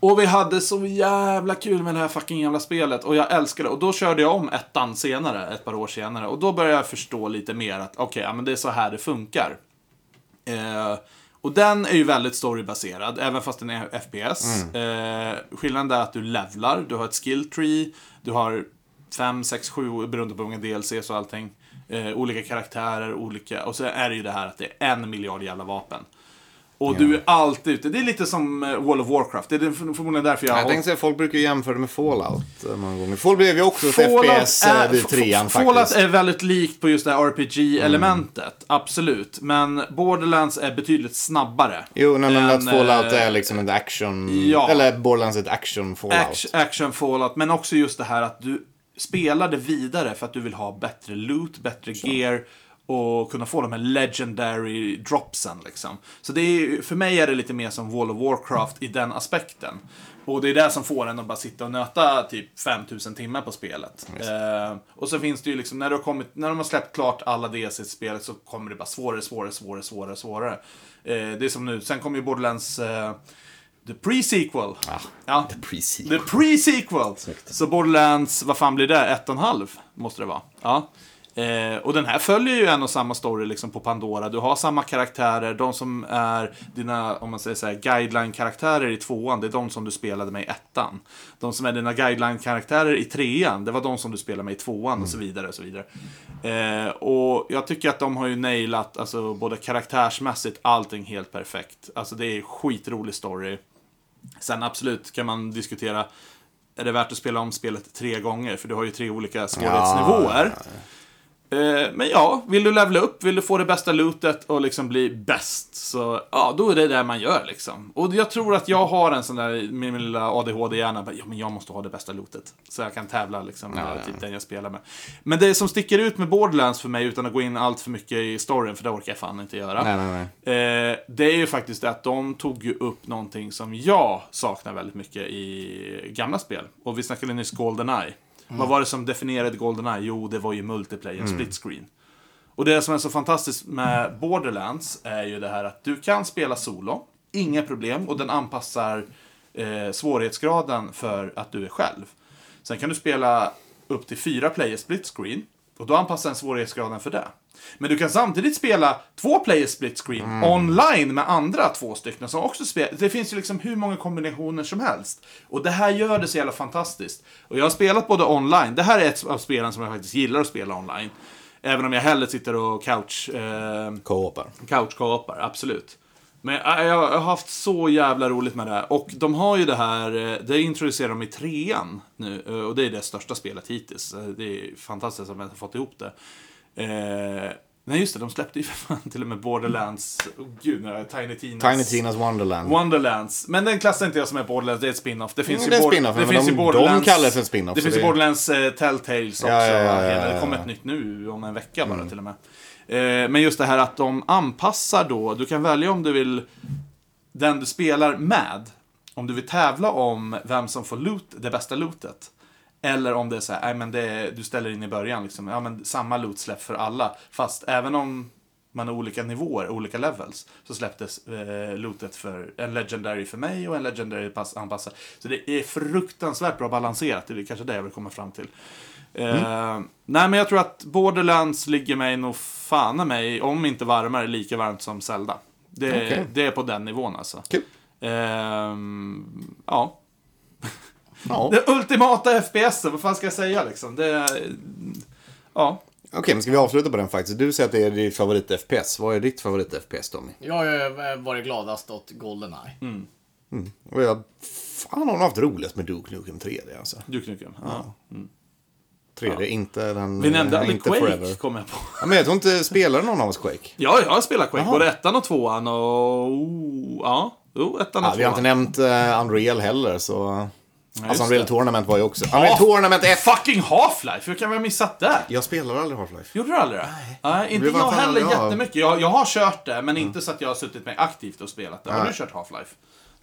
och vi hade så jävla kul med det här fucking jävla spelet och jag älskade det. Och då körde jag om ettan senare, ett par år senare. Och då började jag förstå lite mer att okej, ja, men det är så här det funkar. Eh, och den är ju väldigt storybaserad, även fast den är FPS. Eh, skillnaden är att du levlar, du har ett skill tree, du har 5, 6, 7, beroende på hur många DLCs och allting. Eh, olika karaktärer, olika... Och så är det ju det här att det är en miljard jävla vapen. Och du är alltid ute. Det är lite som eh, World of Warcraft. Det är det- förmodligen därför jag
Jag
har
tänkte säga, folk brukar ju jämföra det med Fallout eh, många gånger. Fallout blev ju också ett FPS
är-
eh, vid trean faktiskt. Mm.
Fallout är väldigt likt på just det här RPG-elementet, absolut. Men Borderlands är betydligt snabbare.
Jo, nej, men
än,
att Fallout
eh,
är liksom ett action...
ja.
Eller Borderlands är ett action Fallout.
Action, action Fallout, men också just det här att du spelar det vidare för att du vill ha bättre loot, bättre gear och kunna få de här legendary dropsen liksom. Så det är, ju- för mig är det lite mer som World of Warcraft i den aspekten. Och det är det som får en att bara sitta och nöta typ 5000 timmar på spelet. Eh, och så finns det ju liksom, när, du har kommit, när de har släppt klart alla DLC i spelet så kommer det bara svårare, svårare, svårare, svårare, svårare. Eh, det är som nu, sen kommer ju Borderlands eh, The Pre-Sequel. ja.
Ah, Pre-sequel.
The pre-sequel. Så Borderlands, vad fan blir det? Ett och en halv måste det vara. Ja. Eh, och den här följer ju en och samma story liksom på Pandora. Du har samma karaktärer. De som är dina, om man säger så här, guideline-karaktärer i tvåan, det är de som du spelade med i ettan. De som är dina guideline-karaktärer i trean, det var de som du spelade med i tvåan och så vidare. Och så vidare. Eh, och jag tycker att de har ju nailat, alltså både karaktärsmässigt, allting helt perfekt. Alltså det är skitrolig story. Sen absolut kan man diskutera, är det värt att spela om spelet tre gånger? För du har ju tre olika svårighetsnivåer. Eh, Men ja, vill du levla upp, vill du få det bästa lootet och liksom bli bäst, så ja, då är det det man gör liksom. Och jag tror att jag har en sån där, min lilla ADHD-hjärna, bara, ja men jag måste ha det bästa lootet. Så jag kan tävla liksom, med typ den jag spelar med. Men det som sticker ut med Borderlands för mig, utan att gå in allt för mycket i storyn, för det orkar jag fan inte göra.
Nej, nej, nej.
Eh, det är ju faktiskt det att de tog ju upp någonting som jag saknar väldigt mycket i gamla spel. Och vi snackade nyss Goldeneye. Vad var det som definierade Goldeneye? Jo, det var ju multiplayer, split screen. Och det som är så fantastiskt med Borderlands är ju det här att du kan spela solo, inga problem, och den anpassar eh, svårighetsgraden för att du är själv. Sen kan du spela upp till fyra player split screen, och då anpassar den svårighetsgraden för det. Men du kan samtidigt spela två player split screen online med andra två stycken som också spelar. Det finns ju liksom hur många kombinationer som helst. Och det här gör det så jävla fantastiskt. Och jag har spelat både online, det här är ett av spelen som jag faktiskt gillar att spela online. Även om jag hellre sitter och couch... Eh,
Co-opar.
Couchkapar, absolut. Men jag, jag har haft så jävla roligt med det här. Och de har ju det här, eh, det introducerar de i trean nu. eh, Och det är det största spelet hittills. Eh, Det är fantastiskt att de har fått ihop det. Eh, nej just det, de släppte ju för fan till och med Borderlands, oh, gud, nu har jag Tiny Tinas.
Tiny Tinas Wonderland.
Wonderlands. Men den klassar inte jag som är Borderlands, det är ett spin-off. Det finns
Mm,
ju
det är
Bord-
spin-off, men de- de kallar det för spin-off,
Det
så
finns ju
det-
Borderlands eh, Telltales också.
Ja, ja, ja, ja,
Det
ja. Mm.
kommer ett nytt nu om en vecka bara till och med. Eh, men just det här att de anpassar då, du kan välja om du vill den du spelar med, om du vill tävla om vem som får loot, det bästa lootet. Eller om det är så här, nej men det är, du ställer in i början liksom, ja men samma loot släpp för alla. Fast även om man har olika nivåer, olika levels, så släpptes eh, lootet för en legendary för mig och en legendary pass, anpassad. Så det är fruktansvärt bra balanserat, det är kanske det jag vill komma fram till.
Mm.
Eh, nej men jag tror att Borderlands ligger mig nog fan i mig, om inte varmare, lika varmt som Zelda. Det,
Okej.
det är på den nivån alltså.
Kul.
Ehm, ja.
Ja. Okej,
Det ultimata FPS, vad fan ska jag säga liksom? Det är... Ja.
men ska vi avsluta på den faktiskt? Du säger att det är din favorit-FPS. Vad är ditt favorit-FPS, Tommy?
Jag har ju varit gladast åt Goldeneye.
Mm. Och jag... Fan, har nog haft roligast med Duke Nukem 3D alltså.
Duke Nukem. Ja.
3D, inte den...
Vi nämnde
eh,
aldrig
inte
Quake,
Forever.
kom jag på.
Ja, men jag tror inte spelar någon av oss Quake.
Ja, jag har spelat Quake. Både ettan och tvåan och... oh, Ja, jo, ettan och
Ja, vi har inte
tvåan.
nämnt eh, Unreal heller, så...
just
alltså, Unreal
det.
Tournament var ju också... Unreal Tournament 1!
Fucking Half-Life! Hur kan vi ha missat det?
Jag spelar aldrig Half-Life.
Gjorde du aldrig det? Nej. inte
Det blir fan
jag heller
aldrig av. Mm.
jättemycket. Jag, jag har kört det, men inte så att jag har suttit med aktivt och spelat det. Har du kört Half-Life?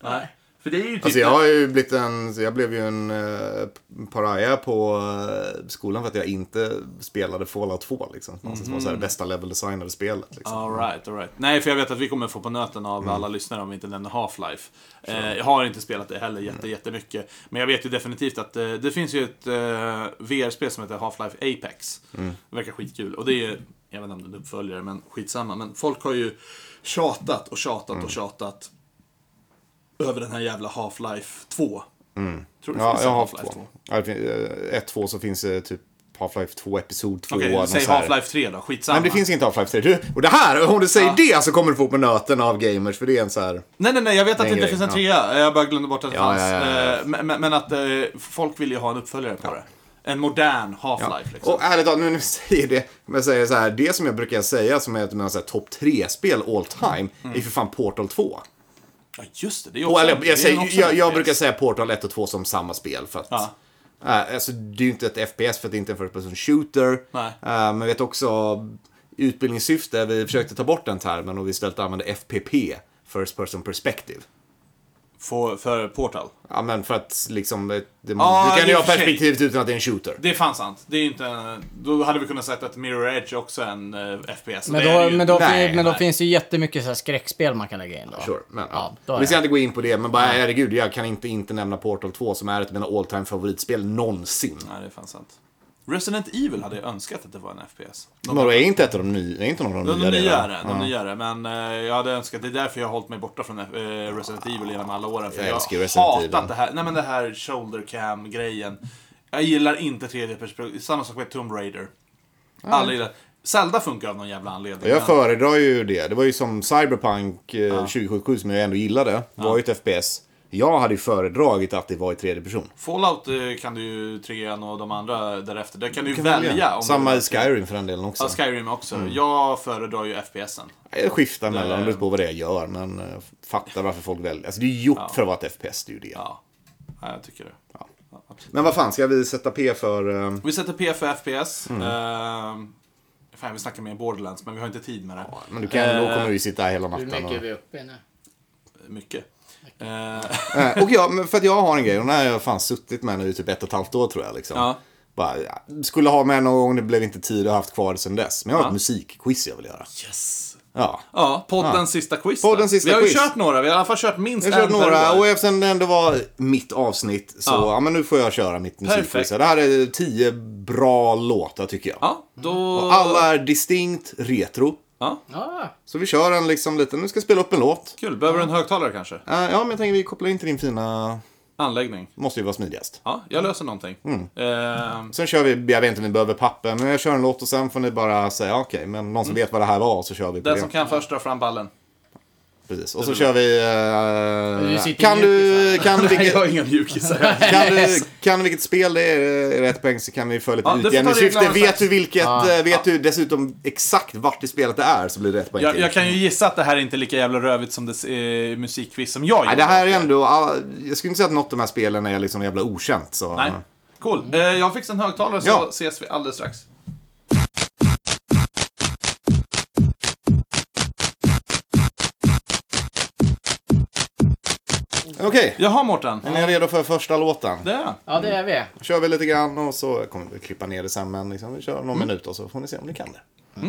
Nej. För det är ju typ...
Alltså jag har ju blivit en, jag blev ju en eh, paraja på eh, skolan för att jag inte spelade Fallout 2 liksom. Man mm. var
Mhm.
så här, det bästa level designade spelet liksom.
Alright, alright. Nej, för jag vet att vi kommer få på nöten av
Mm.
alla lyssnare om vi inte nämner Half-Life. Eh, jag har inte spelat det heller
Mm.
jätte, jättemycket. Men jag vet ju definitivt att eh, det finns ju ett eh, VR-spel som heter Half-Life Apex.
Mm.
Det verkar skitkul. Och det är ju, jag vet inte om det är en uppföljare, men skitsamma. Men folk har ju tjatat och tjatat
Mm.
och tjatat över den här jävla Half-Life 2. Tror du det
Mm. Ja,
finns
jag
en
har
Half-Life 2?
två. Ja, det fin- eh, Ett, två så finns eh, typ Half-Life 2, Episod 2.
Okej,
någon
säg
så här.
Half-Life 3 då. Skitsamma.
Nej, det finns inte Half-Life 3. Du, och det här, om du säger det så kommer du få på nöten av gamers för det är en så här...
Nej, nej, nej, jag vet att det
Den
inte
grejen,
finns en trea. Jag bara glömde bort att det
Ja,
fanns.
ja, ja, ja.
Eh, Men, men- men att eh, folk vill ju ha en uppföljare på det. En modern Half-Life. Liksom.
Och ärligt talat, nu när vi säger det, om jag säger så här, det som jag brukar säga som är ett av mina så här topp 3-spel all time,
Mm.
är för fan Portal 2.
ja, just det. det är
Och,
också,
eller,
det är
jag, säger,
också
jag,
en
jag
FPS.
brukar säga Portal 1 och 2 som samma spel för att...
Ja.
Äh, alltså, det är ju inte ett FPS för att det inte är en First Person Shooter.
Nej.
Äh, men jag vet också, i utbildningssyfte, vi försökte ta bort den termen och vi istället använde FPP, First Person Perspective.
För, för Portal.
Ja, men för att liksom, det, det,
Ja,
du kan
i
ju
och
ha
för sig.
perspektivet utan att det är en shooter.
Det är fan sant. Det är ju inte en, då hade vi kunnat säga att Mirror Edge också är en eh, FPS.
Men
det är det
då,
ju.
men då,
Nej,
men då
nej.
finns ju jättemycket så här skräckspel man kan lägga in då.
Sure, men, ja.
då är
Vi ska
jag-
inte gå in på det, men bara herregud, jag kan inte inte nämna Portal 2 som är ett av mina all time favoritspel någonsin.
Nej, det är fan sant. Resident Evil hade jag önskat att det var en FPS.
Men vadå, är inte ett av de nya? Är inte någon av de
De
nya
nyare, de
Ja.
nyare. Men eh, jag hade önskat, det är därför jag har hållit mig borta från eh, Resident Evil genom alla åren. För
Jag
jag
älskar ju
har
Resident
hatat
Evil.
det här, nej men det här shoulder cam-grejen. Jag gillar inte tredje perspektiv. Samma sak med Tomb Raider. Alla gillar. Zelda funkar av någon jävla anledning.
Jag
men-
föredrar ju det. Det var ju som Cyberpunk eh, 2077 som jag ändå gillade. var ju ett FPS. Jag hade ju föredragit att det var i tredje person.
Fallout eh, kan du ju, trean och de andra därefter. Där kan du ju
Kan
välja. om
Samma Mm.
du,
i Skyrim för den delen också.
Ja, Skyrim också. Jag föredrar ju FPSen.
Jag skiftar mellan, det beror på vad det är jag gör. Men eh, fattar varför folk väljer. Alltså det är ju gjort för att vara ett FPS, det är ju det.
Ja. ja, jag tycker det. Ja, absolut.
Men vad fan, ska vi sätta P för... eh,
Vi sätter P för FPS.
Mm.
Ehm, fan, vi snackar mer Borderlands, men vi har inte tid med det.
Men du kan, då kommer vi sitta här
Eh,
hela
Hur
natten.
mycket är
Och...
vi uppe i nu?
Mycket. Ehm,
Eh, och jag, men för att jag har en grej, och den här har jag fan suttit med nu i typ ett och ett halvt år tror jag. Liksom.
Ja.
Bara, ja, skulle ha med någon gång, det blev inte tid och haft kvar det sedan dess. Men jag har ett musikquiz jag vill göra.
yes!
Ja.
Ja, poddens sista quiz.
Poddens
då.
sista
vi har ju
quiz.
kört några, vi har i alla fall kört minst
Jag har kört
en per
några
år.
och eftersom det ändå var mitt avsnitt så ja.
Ja.
men nu får jag köra mitt musikquiz.
Perfekt.
Det här är tio bra låtar tycker jag.
Ja, då...
Och alla är distinkt retro.
Ja,
Ja,
Så vi kör en liksom lite, nu ska jag spela upp en låt.
kul. Behöver du en högtalare kanske?
Eh, ja, men jag tänker vi kopplar in till din fina,
Anläggning.
måste ju vara smidigast.
Ja, jag löser någonting.
Mm.
Ehm,
Sen kör vi, jag vet inte om ni behöver papper, men jag kör en låt och sen får ni bara säga "Ah, okej, men någon som vet vad det här var så kör vi på
Mm. den
det.
som kan först dra fram ballen.
Precis. Och så kör vi... eh,
Du sitter
kan,
ju
du,
mjukis
kan, du
Nej,
vilket,
jag har inga mjukisar.
kan, du, kan du vilket spel det är, är det ett poäng så kan vi följa
Ja,
lite
du får ta
utjämningssyfte.
reglerna
Vet
strax.
du vilket, eh, vet du dessutom exakt vart i spelet det är så blir det ett poäng
Jag,
till.
jag kan ju gissa att det här är inte lika jävla rövigt som det eh, musikquiz som jag
Nej,
gjorde.
det här är ändå, ah, jag skulle inte säga att något av de här spelen är liksom jävla okänt. Så.
Nej, cool. Eh, jag har fixat en högtalare så
Ja.
ses vi alldeles strax.
Okej,
Jaha, Mårten.
är ni redo för första låten?
Det är jag.
ja det är vi.
kör vi lite grann och så kommer vi klippa ner det sen, men liksom, vi kör någon minut och så får ni se om ni kan det.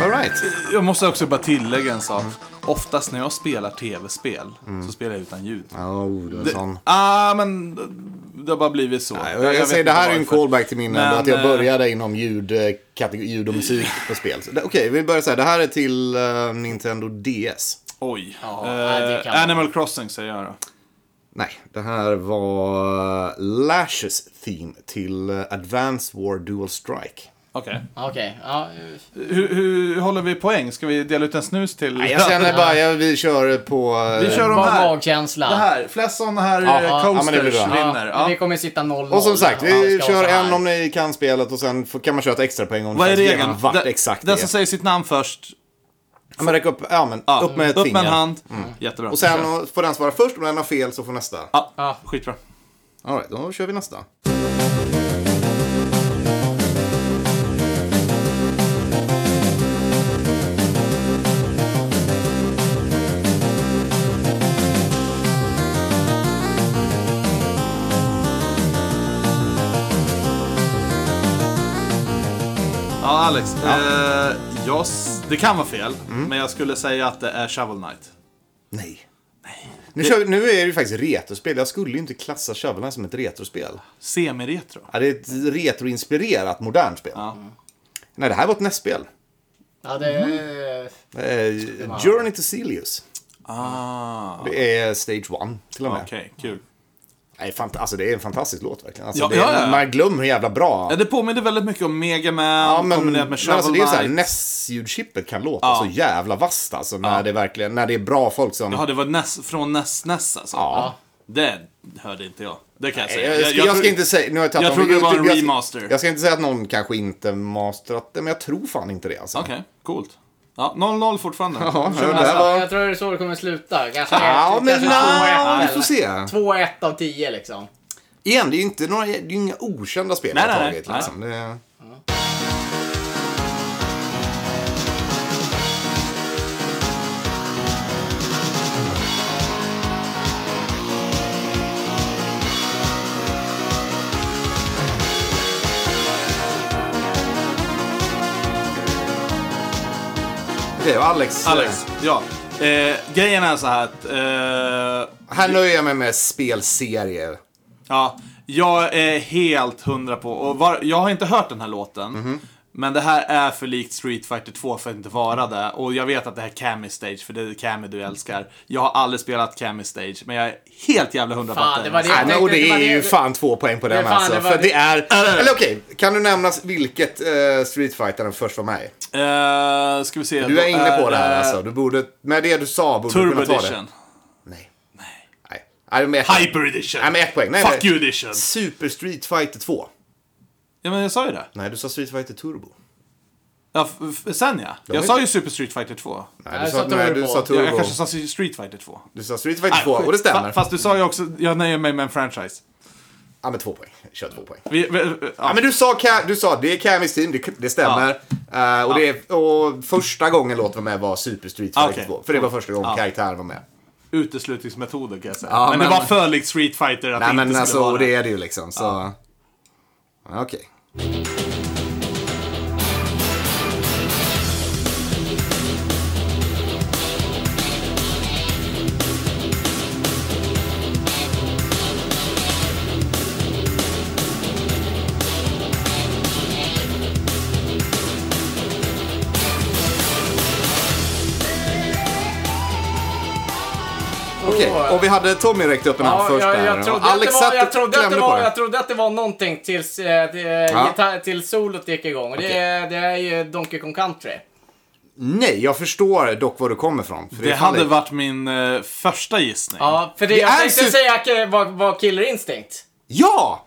All right.
Jag måste också bara tillägga en sak. Oftast när jag spelar tv-spel
Mm.
så spelar jag utan ljud.
Oh, du är sån.
Ah, men det har bara blivit så.
Nej, Jag, jag
vet
säger, det
inte
här är ju en
varför.
callback till min,
Men,
att jag
eh,
började inom ljud, eh, kategori, ljud och musik på spel. Så det- Okej, vi börjar så här. Det här är till eh, Nintendo DS.
Oj.
nej, det kan
Eh, Animal Crossing säger jag då.
Nej, det här var eh, Lashes Theme till eh, Advanced War Dual Strike.
Okej.
Okej, ja. eh,
Hur, hur håller vi poäng? Ska vi dela ut en snus till?
Nej, jag känner bara, jag, vi kör på... eh,
Vi kör de
Vad
här.
magkänsla.
Det här. Flest sådana här
Ja,
eh,
ja, men det blir
coasters
bra.
vinner.
Ja, men
Ja.
Vi kommer sitta 0-0.
och som sagt,
Ja,
vi
det ska vara
kör
så här.
en om ni kan spelet och sen får, kan man köra ett extra poäng om
Vad är
faktiskt
regeln?
vet vart
Den-
exakt det
Den
är.
som säger sitt namn först.
Ja, men räck upp, ja, men,
Ja,
upp med ett
upp
finger. Mm.
med en hand. Jättebra.
Och sen och, får den svara först, om den har fel så får nästa.
Ja,
Ja.
skitbra.
All right, då kör vi nästa.
Ja, Alex. Eh, jag, s- det kan vara fel,
Mm.
men jag skulle säga att det är Shovel Knight.
Nej. Nu, kör, vi- nu är det ju faktiskt retrospel. Jag skulle ju inte klassa Shovel Knight som ett retrospel.
Semi-retro.
Ja, det är ett retroinspirerat modernt spel.
Ja.
Nej, det här var ett NES-spel.
Ja, det är... eh,
Eh, Journey to Celius.
Ah,
Det är Stage One till och med.
okej, kul.
Nej, fant- alltså, det är en fantastisk låt verkligen. Alltså,
Ja,
det är,
ja, ja.
Man glömmer hur jävla bra.
Ja, det påminner väldigt mycket om Mega Man kombinerat med
men
Shovel
alltså, det är så här,
Knight.
NES-ljudchippet kan låta så jävla vasst alltså, när, det verkligen, när det är bra folk som...
Jaha, det var näs, från Ness Ness alltså?
Ja.
Det hörde inte jag. Det kan jag
Nej,
säga.
Eh, Jag, ska- jag,
tror-
ska inte säga... Nu har jag tagit
jag
dem på
trodde det var en
YouTube. Jag ska-
remaster.
Jag, ska inte säga att någon kanske inte masterat det, men jag tror fan inte det alltså.
Okej, coolt. Ja, 0-0 fortfarande.
Ja,
Kör
det
nästa.
här var-
Jag tror det är så det kommer sluta. Kanske
Ja, men
kanske
no,
2-1
vi får se.
eller 2-1 av 10 liksom.
Igen, det är ju inte några, det är ju inga okända spel
Nej,
jag har
nej,
tagit.
nej.
Liksom. Det är... Okej, och Alex.
Alex, ja. Eh, grejen är så här att... Eh,
Här nöjer jag mig med spelserier.
ja, jag är helt hundra på... Och var, jag har inte hört den här låten.
Mhm.
Men det här är för likt Street Fighter 2 för att inte vara det. Och jag vet att det här är Cammy Stage, för det är Cammy du älskar. Jag har aldrig spelat Cammy Stage, men jag är helt jävla hundra på
Fan,
att
det var
är
det-
en-
Nej,
tänkte
men, och det
inte
är
vad det-
ju fan två poäng på den
fan,
alltså.
det var-
För det är... Eller okej, kan du nämna vilket eh, Street Fighter den först var med i?
Eh, ska vi se.
Du
då
är inne på det här
eh,
alltså. Du borde, med det du sa borde du
Turbo
kunna ta det.
Edition.
Nej. Nej. Nej. men ett-
Hyper Edition.
Nej, men ett poäng. Nej,
Fuck
nej.
you edition.
Super Street Fighter 2.
Ja, men jag sa ju det.
Nej, du sa Street Fighter Turbo.
Ja, f- f- sen ja. Jag
är-
sa ju Super Street Fighter 2.
Nej, du
Jag
sa,
sa
nej, du
Turbo.
sa
Jag,
Turbo.
jag kanske sa Street Fighter 2.
Du sa Street Fighter 2
skit.
och det stämmer.
Fa- Fast du sa ju också, jag nöjer mig med en franchise.
Ja, men två poäng. Kör två poäng.
Vi, vi,
Ja,
ja.
men du sa, Ka- du sa det är Camis team, det, det stämmer. Eh, och, det, och första gången låten var med var Super Street Fighter
Ah, Okej.
2. För det var första gången
Ja.
karaktären var med.
Uteslutningsmetoden kan jag säga.
Ja,
men,
men-
det var för likt Street Fighter att
Nej,
det
men
inte
alltså,
skulle vara
och det
det.
är det ju liksom. Så. Okej. Okej,
Åh.
och vi hade Tommy räckt upp en hand
Ja,
först
jag,
där.
jag,
Och
trodde att det
Alex
var,
satt
jag,
och
trodde att det
klämde på
var,
det.
jag trodde att det var någonting tills, eh, det,
Ja.
gitarr, tills solot gick igång. Och det, är- det är ju Donkey Kong Country.
Nej, jag förstår dock var du kommer ifrån. För
Det
är fan
hade varit min eh, första gissning.
Ja, för det,
Det är
jag tänkte
su-
säga att det var, var Killer Instinct.
Ja!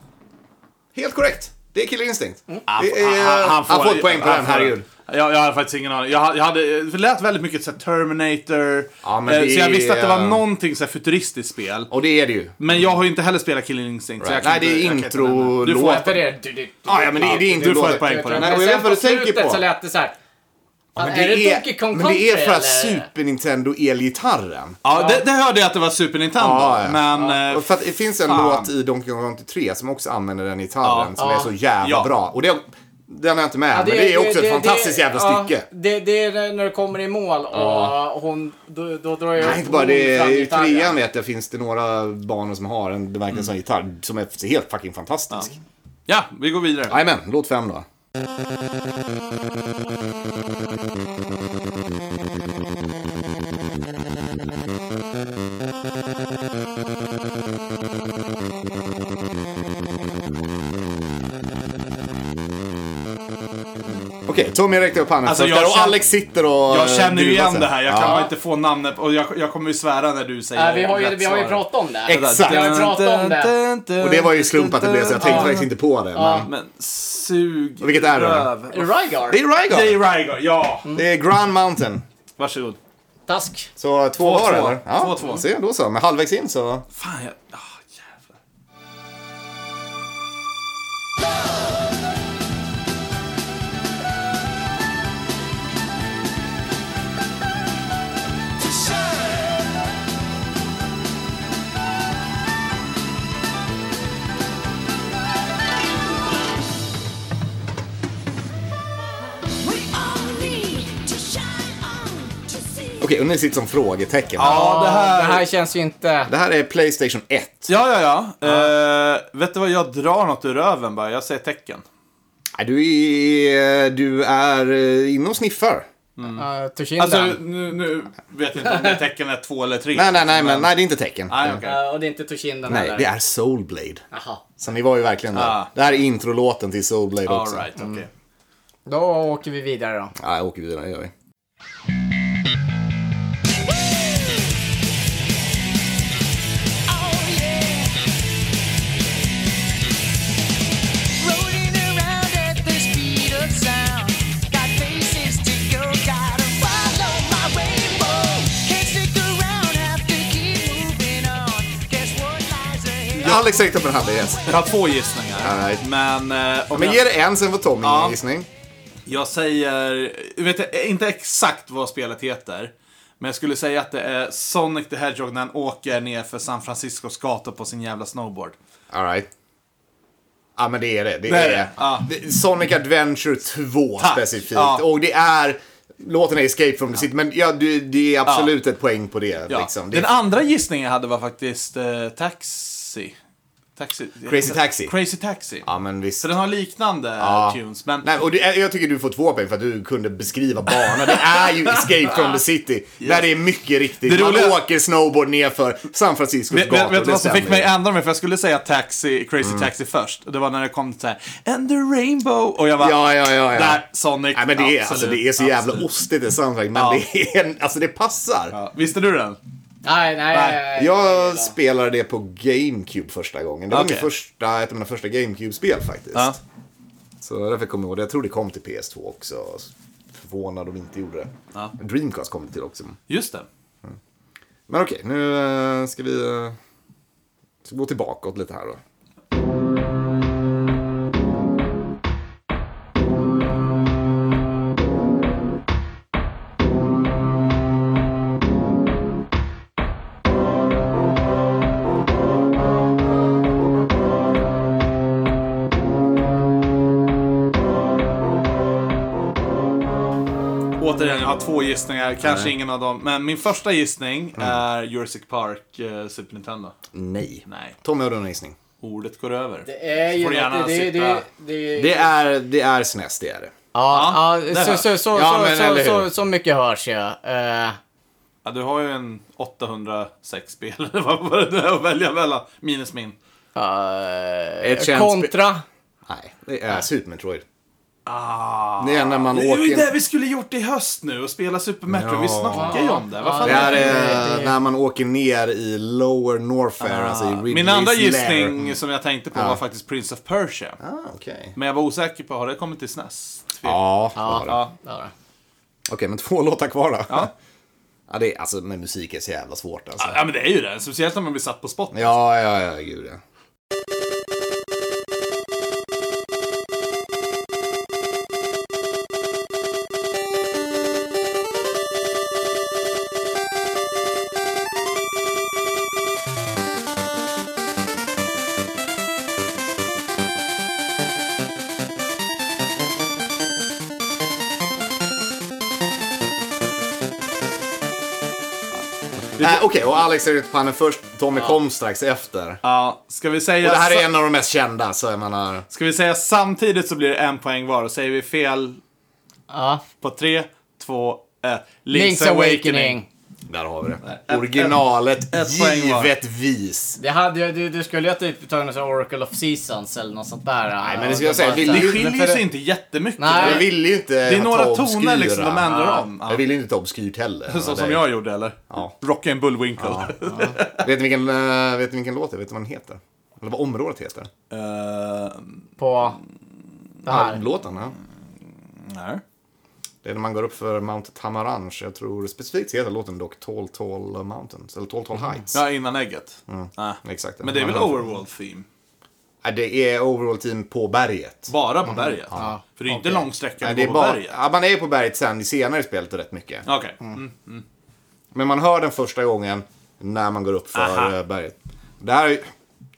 Helt korrekt. Det är Killer Instinct.
Mm.
Det är, han, får ett poäng på
han
den,
får-
herregud.
Jag, jag hade faktiskt ingen aning. Jag, hade- jag hade, det lät väldigt mycket så här, Terminator.
Ja, men
eh,
det
så jag
är-
visste att det var någonting så här, futuristiskt spel.
Och det är det ju.
Men jag har ju inte heller spelat Killing Instinct. så jag kan
Nej, det är
inte- jag kan inte
intro-
nämna. Du får
låt.
ett
För det, du, du, du,
Ja, ja, men det, det är inte
Du får
dåligt.
ett poäng på den.
Nej, och
Men
jag vet
sen
vad du
på
tänker
slutet så
på.
lät det så här.
Ja,
Fan, är det Donkey Kong
men det är
Country,
för att
eller?
Super Nintendo elgitarren.
Ja, det, det hörde jag att det var Super Nintendo.
Ja, ja.
Men... eh,
Och för att det finns en
Fan.
låt i Donkey Kong Country 3 som också använder den gitarren
Ja.
som
Ja.
är så jävla
Ja.
bra. Och det, den är inte med,
Ja,
men det är också ett fantastiskt
det-
jävla
ja,
stycke.
Det, det är när du kommer i mål och hon, då, då drar jag
Nej, inte bara det.
hon fram
I
gitarren.
trean vet jag finns det några banor som har en, det verkar
Mm.
som en gitarr, som är helt fucking fantastisk.
Ja, vi går vidare.
Jajamän, låt fem då. Okej, Tommy räckte upp handen
Alltså,
först
jag
där och
känner-
Alex sitter och...
Jag känner ju
duvar
igen
Eh, sen.
det här. Jag
Ja.
kan bara inte få namnet. Och jag, jag kommer ju svära när du säger
Nej, vi har ju,
rätt
vi har ju
svar.
pratat om det.
Exakt.
Vi har ju pratat om det.
Och det var ju slump att det blev så, jag tänkte
Ja.
faktiskt inte på det. Men...
Men sug
Och vilket är det då?
röv.
Rygar.
Det är Rygar!
Det är Rygar, ja.
Mm.
Det är Grand Mountain.
Varsågod.
Task.
Så två var det
två.
eller? Ja,
Två, två.
Se, då så. Men halvvägs in så...
Fan, jag... ah, jävlar.
We all need to shine on to see.
Okej, och ni sitter som frågetecken.
Ja, det
Ah,
här...
Det här känns ju inte...
Det här är Playstation 1.
Ja, ja, ja. Eh, vet du vad? Jag drar något ur röven bara. Jag säger tecken.
Nej, Du är, du är eh, inne och sniffar.
Mm.
Alltså, nu, nu vet jag inte om det tecken är två eller tre.
Nej, nej, nej, men nej, det är inte tecken.
Nej, okej.
Eh, och det är inte Toshinden
Nej,
heller.
det är Soulblade.
Jaha.
Så ni var ju verkligen där.
Ah.
Det här är introlåten till Soulblade
All
också.
right, okej.
Då åker vi vidare då.
Ja, jag åker vidare, det gör vi.
Oh yeah. Rolling around at the speed of sound. Got places to go, gotta follow my rainbow. Can't stick around, have to keep moving on. Guess what lies ahead?
Alex räckte upp en hand, yes.
Jag har två gissningar.
All right.
Men, eh, om
Men
jag,
ge det en, sen får Tommy
Ja.
en gissning.
jag säger, jag vet jag inte exakt vad spelet heter. Men jag skulle säga att det är Sonic the Hedgehog när han åker ner för San Franciscos gator på sin jävla snowboard.
All right. Ja, men det är det. Det,
Det är
är
det.
det.
Ja.
Det- Sonic Adventure 2
Tack.
specifikt.
Ja.
Och det är Låten är Escape from the City, men ja, du, det är absolut ett poäng på det.
Ja.
Liksom. det
Den andra gissningen jag hade var faktiskt eh, Taxi. Taxi.
Crazy Taxi.
Crazy Taxi.
ja, men visst.
Så den har liknande tunes, men...
Nej, och det, jag tycker du får två poäng för att du kunde beskriva banan. Det är ju Escape from the City. Där det är mycket riktigt.
Det
Man
roliga-
åker snowboard nerför San Franciscos
Vet,
gator.
vet, vet du
det
vad som fick
stämmer
mig
ju.
att ändra mig? För jag skulle säga taxi, Crazy
Mm.
Taxi först. Det var när det kom så här, And the Rainbow. Och jag bara,
Ja, ja, ja. ja.
där, Sonic.
Nej, men det, är, alltså,
absolut,
det är så jävla
absolut.
ostigt det soundtrack, men
Ja.
det, är, alltså, det passar.
Ja, Visste du den?
Nej, nej, eh,
Nej,
nej.
Jag spelade det på GameCube första gången. Det var
Okej.
min första, ett av mina första GameCube-spel faktiskt.
Ja.
Så därför kommer jag ihåg det. Jag tror det kom till PS2 också. Förvånad om det inte gjorde det.
Ja.
Dreamcast kom det till också.
Just det.
Men okej, nu eh, ska vi eh, ska gå tillbaka lite här då.
Återigen, jag har två gissningar. Kanske ingen av dem. Men min första gissning
Mm.
är Jurassic Park, eh, Super Nintendo.
Nej.
Nej,
Tommy, har du en gissning?
ordet går över.
Det är ju
får du
något-
gärna
det, det,
sitta-
det, det,
Det är, det är SNES, det är det.
Ja,
Ja,
ja,
det
så,
hör.
så, så,
Ja, men
så,
eller
så,
hur?
så, så mycket hörs jag. Eh,
Ja, du har ju en 806 spel Vad var det där att välja mellan. Minus min.
eh,
Ett känt
kontra.
Nej, det är Super Metroid.
Ah.
Det är när man
Det är ju
åker...
det vi skulle gjort i höst nu och spela Super Metroid. Vi
Ja.
snackar ju om det. Vad fan
Det
Ja,
här
är det?
är
det-
när man åker ner i Lower Norfair, alltså i Ridley's
Min andra
Lair.
gissning som jag tänkte på var faktiskt Prince of Persia.
Ah, okej.
Men jag var osäker på, har det kommit till SNES? Tve-
Ja, det var det.
Ja.
Ja,
Okej, men två låtar kvar då.
Ja.
Ja, det är, alltså, med musik är så jävla svårt alltså.
ja, men det är ju det. Speciellt om man blir satt på spot.
Ja, ja, ja, gud ja. Nej, Äh, Okej, och Alex är ute på handen först. Tommy kom strax efter.
Ja, ska vi säga...
Och det här
sa-
är en av de mest kända, så jag menar...
Ska vi säga samtidigt så blir det en poäng var. Och säger vi fel
ja.
på tre, två, ett.
Link's Awakening.
Där har vi det.
Ett-
Originalet,
ett poäng var.
givetvis.
Det hade, jag- du, du skulle ju ha typ tagit något sånt här Oracle of Seasons eller något sånt där. eh, Nej,
men det skulle jag säga, vill
Det
ni-
skiljer
Men för
sig
det-
inte jättemycket.
Nej.
Jag ville ju inte
Det är några toner
obskyra.
liksom de ändrar om.
Jag ville ju inte ta obskyrt heller.
Så
Det-
som jag gjorde eller?
Ja.
Rocky and Bullwinkle.
Vet ni vilken, eh, vet ni vilken låt det är? Vet ni vad den heter? Eller vad området heter?
Eh,
På det här.
Låten, ja.
Mm, nej.
Det är när man går upp för Mount Tamaranch. Jag tror specifikt heter låten dock Tall Tall Mountains. Eller Tall Tall Heights.
Ja, innan ägget. Ah.
Mm. Exakt.
Men det är väl
Man-
overworld theme?
Nej, det är overall team på berget.
Bara på berget? För det är inte lång sträcka
Mm. Nej, det
att gå
är
på
bara,
berget.
ja, man är ju på berget sen i senare spelet och rätt mycket.
Okej. Mm.
Men man hör den första gången när man går upp för
Aha.
eh, berget. Det här, är ju-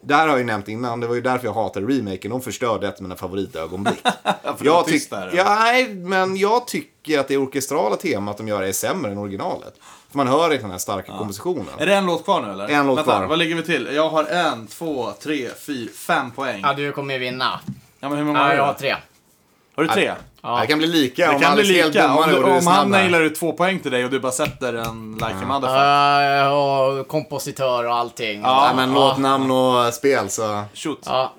det här har jag ju nämnt innan, det var ju därför jag hatade remaken. De förstörde ett av mina favoritögonblick.
det var tyst
tyck-
där, eller?
ja, nej, men jag tycker att det orkestrala temat de gör är sämre än originalet. För man hör inte den här starka kompositionen.
Är det en låt kvar nu eller?
En låt
Vänta,
kvar.
vad ligger vi till? Jag har en, två, tre, fyra, fem poäng.
Ja, du kommer ju vinna.
Ja, men hur många
Ja,
har du?
jag har tre.
Har du tre?
Det kan bli lika
Det
om
kan bli
Alex är helt
lika. Om,
domare
du,
och du är
om han
snabb här.
nailar ut två poäng till dig och du bara sätter en like
Mm.
a motherfucker.
Eh, och kompositör och allting.
Ja.
Nej, men låt namn och spel så...
Shoot.
Ja.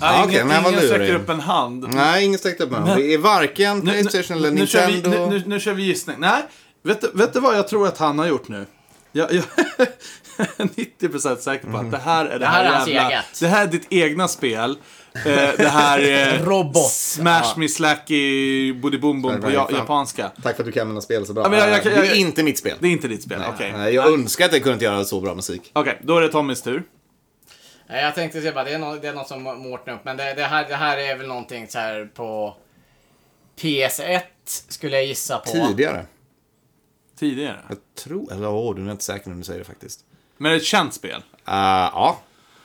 Ah,
okej, men jag var
ingen sträcker
lurig.
upp en hand.
Nej, ingen sträckte upp handen. Det är varken
Nu- nu-
Playstation eller
nu kör vi-
Nintendo.
Nu, nu, nu kör vi gissning. Nej, vet, du- vet du vad jag tror att han har gjort nu? Jag, jag är 90% säker på att det här är det,
här
här,
är hans
jävla...
eget.
Det här är ditt egna spel. Eh, det här är...
Robot.
Smash me slacky boom boom på
Sorry,
ja,
fan.
japanska.
Tack för att du kan mina spel så bra.
Ja, men jag- jag- jag-
det är inte mitt spel.
Det är inte ditt spel, okej.
Nej, Jag önskar att jag kunde göra så bra musik.
Okej, då är det Tommys tur.
Nej, Jag tänkte se bara, det är något, det är något som Mårten upp, men det, det, här, det här är väl någonting så här på PS1 skulle jag gissa på.
Tidigare.
Tidigare.
Jag tror, eller åh, du är inte säker när du säger det faktiskt.
Men ett känt spel.
Eh, ja.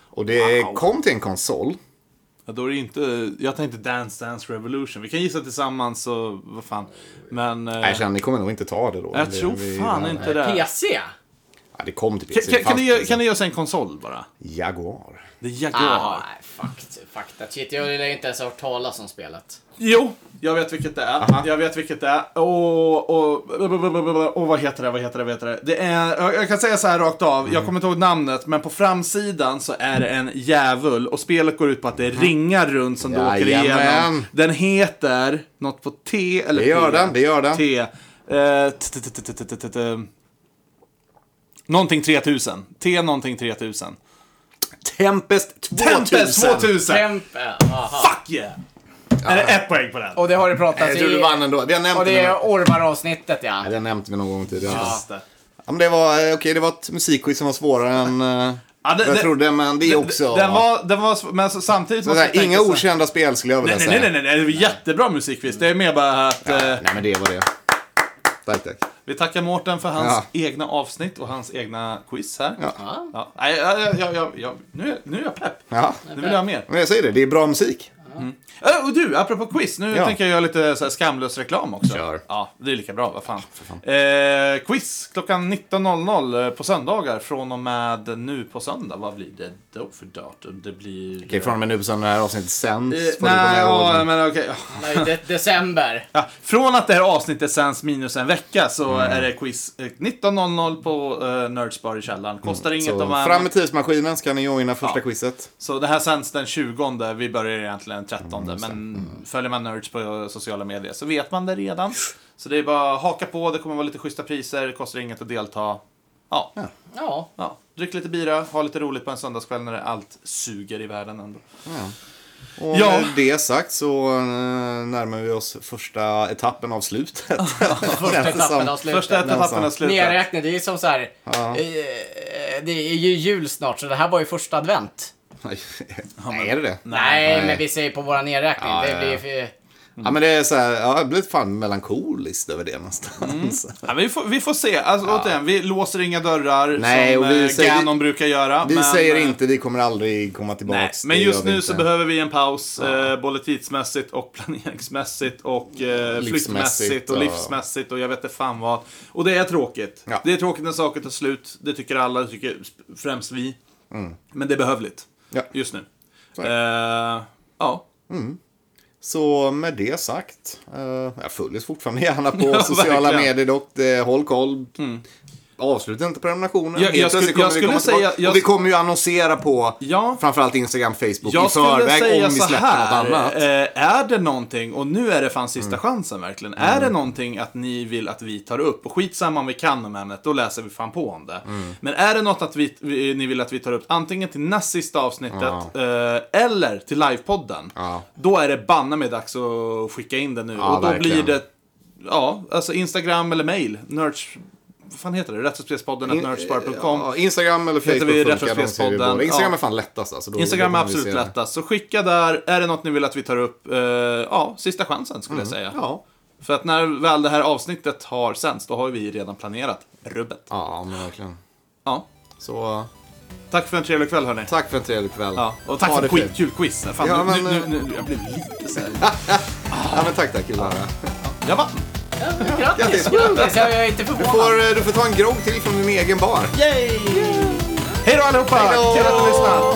Och det kom till en konsol.
Ja, då är det inte, jag tänkte Dance Dance Revolution. Vi kan gissa tillsammans och vad fan. Men... eh,
Nej, känn, ni kommer nog inte ta det då.
jag
Det-
tror
vi-
fan
nej.
inte det.
PC?
Ja, det kom till
Kan,
PC.
kan, kan,
fast liksom.
ni, ge- kan ni ge oss en konsol bara?
Jaguar.
Det är Jaguar.
Ah, nej, fuck, fuck that shit. Jag har ju inte ens hört talas om spelet.
Jo, jag vet vilket det är. Jag vet vilket det är. Och, och, och, och vad heter det, vad heter det, vad heter det? det är, jag- jag kan säga så här rakt av,
Mm.
jag kommer inte ihåg namnet, men på framsidan så är det en djävul och spelet går ut på att det är ringar runt som du åker
Mm. Jajamän.
igenom. Den heter något på T eller
Det gör
P.
den, det gör den.
T. Eh, t- t- t- t- t- t- t- t- Någonting 3000. T någonting 3000.
Tempest 2000.
Tempest 2000!
Tempe, aha.
Fuck yeah! Är det ett poäng på den?
Och det har det
Jag
pratats
tror du
i...
vann ändå. Det har
Och
nämnt
det
vi någon-
är Orvar-avsnittet ja.
Ja, det har nämnt vi någon gång tidigare.
Just det.
Ja, men det var, eh, okej, det var ett musikquiz som var svårare än eh,
Ja, det-
jag
det-
trodde, men det är också...
Den var, den var, sv- men så- samtidigt
så
måste
här,
jag tänka
inga
så här-
okända spel skulle jag vilja
Nej, nej,
säga.
nej, nej, nej, nej, det var jättebra musikquiz. Det är mer bara att eh,
Nej, men det var det. Tack, tack.
vi tackar Mårten för hans
Ja.
egna avsnitt och hans egna quiz här.
Ja.
Ja. Nej, jag, jag, jag, jag, jag, nu, är- nu är jag pepp.
Ja.
Nu vill jag ha mer.
Men jag säger det, det är bra musik.
Ö, Och du, apropå quiz, nu
Ja.
tänker jag göra lite så här skamlös reklam också.
Kör.
Ja, det är lika bra, vad fan. Eh, quiz klockan 19.00 eh, på söndagar från och med nu på söndag. Vad blir det då för datum? Det blir...
Okej, från och med nu på söndag när det här avsnittet sänds.
Eh,
får du komma
Nej,
ihåg.
ja, men okej.
Nej, det, december.
Ja, från att det här avsnittet sänds minus en vecka så
Mm.
är det quiz eh, 19.00 på uh, Nerdsbar i källaren. Kostar inget om
Mm. Så
man...
fram med tidsmaskinen ska ni joina första
Ja.
quizet.
Så det här sänds den 20. Vi börjar egentligen den 13.
Mm,
men följer man Nerds på eh, sociala medier så vet man det redan. Så det är bara att haka på. Det kommer vara lite schyssta priser. Det kostar inget att delta. Ja. ja.
Ja.
Drick lite bira. Ha lite roligt på en söndagskväll när det allt suger i världen ändå.
Och
Ja.
med det sagt så eh, närmar vi oss första etappen av slutet.
Första etappen
Första
av slutet.
etappen har
Nästan.
slutat.
Nerräkning, det är som så här. eh, Det är ju jul snart så det här var ju första advent.
Nej, är det det?
Nej,
Nej.
men vi säger på våra nedräkning.
Ja,
det
ja,
blir
ja.
för...
Ja, men det är så här, ja, jag blir fan melankoliskt över det någonstans.
Ja, men vi, får, vi får se. Alltså, återigen, vi låser inga dörrar
Nej,
som
och vi
eh,
säger-
Ganon brukar göra.
Vi
men,
säger
eh,
inte, vi kommer aldrig komma tillbaka.
Nej, men
Det
just
gör vi
nu
inte.
så behöver vi en paus, eh, både tidsmässigt och planeringsmässigt och eh, flyttmässigt och
ja.
livsmässigt och jag vet inte fan vad. Och det är tråkigt.
Ja.
Det är tråkigt när saker tar slut, det tycker alla, det tycker sp- främst vi. Men det är behövligt
Mm. Ja.
just nu. Eh, ja.
Så med det sagt, eh, jag följs fortfarande gärna på
Ja,
sociala
verkligen. Mm.
medier dock. Det, håll koll. Avsluta inte prenumerationen.
Jag- jag
Helt plötsligt
skulle-
kommer vi
jag skulle
komma
säga-
tillbaka.
jag-
Och vi kommer ju annonsera på
Ja.
framförallt Instagram, Facebook i
Jag skulle
förväg
säga
om vi
så
släpper
här,
något annat. Mm.
eh, är det någonting, och nu är det fan sista chansen verkligen, är det någonting att ni vill att vi tar upp, och skitsamma om vi kan om ämnet, då läser vi fan på om det.
Mm.
Men är det något att vi, vi, ni vill att vi tar upp, antingen till näst sista avsnittet, eh, eller till livepodden,
Ja.
då är det banne mig dags att skicka in det nu.
Ja,
och då
verkligen.
blir det, ja, alltså Instagram eller mail, nerds, vad fan heter det? Retrospelspodden,
In-
retrospelspodden.com.
ja, Instagram eller
Heter vi
Facebook funkar. de ser vi
Retrospelspodden?
båda. Instagram
Ja.
är fan lättast. Alltså, då,
Instagram
då
är
kommer vi
absolut
se det.
lättast. Så skicka där. Är det något ni vill att vi tar upp? Eh, ja, sista chansen skulle jag säga.
Mm, Ja.
För att när väl det här avsnittet har sänds, då har vi redan planerat rubbet. Ja.
Ja, men verkligen. Så eh,
Tack för en trevlig kväll hörni.
tack för en trevlig kväll.
Ja. Och tack
Ha
för
det
ett skitkul
fint.
quiz. Fan,
Ja,
nu,
men, eh,
nu, nu, nu, jag blev lite så här.
Ja, men tack, tack. Gillar det.
Jag vann!
Grattis!
grattis.
Grattis! Jag är inte
Du
förvånad.
får, eh, du får ta en grogg till från din egen bar.
Yay! Hej då allihopa!
då!
Kul att ni lyssnade!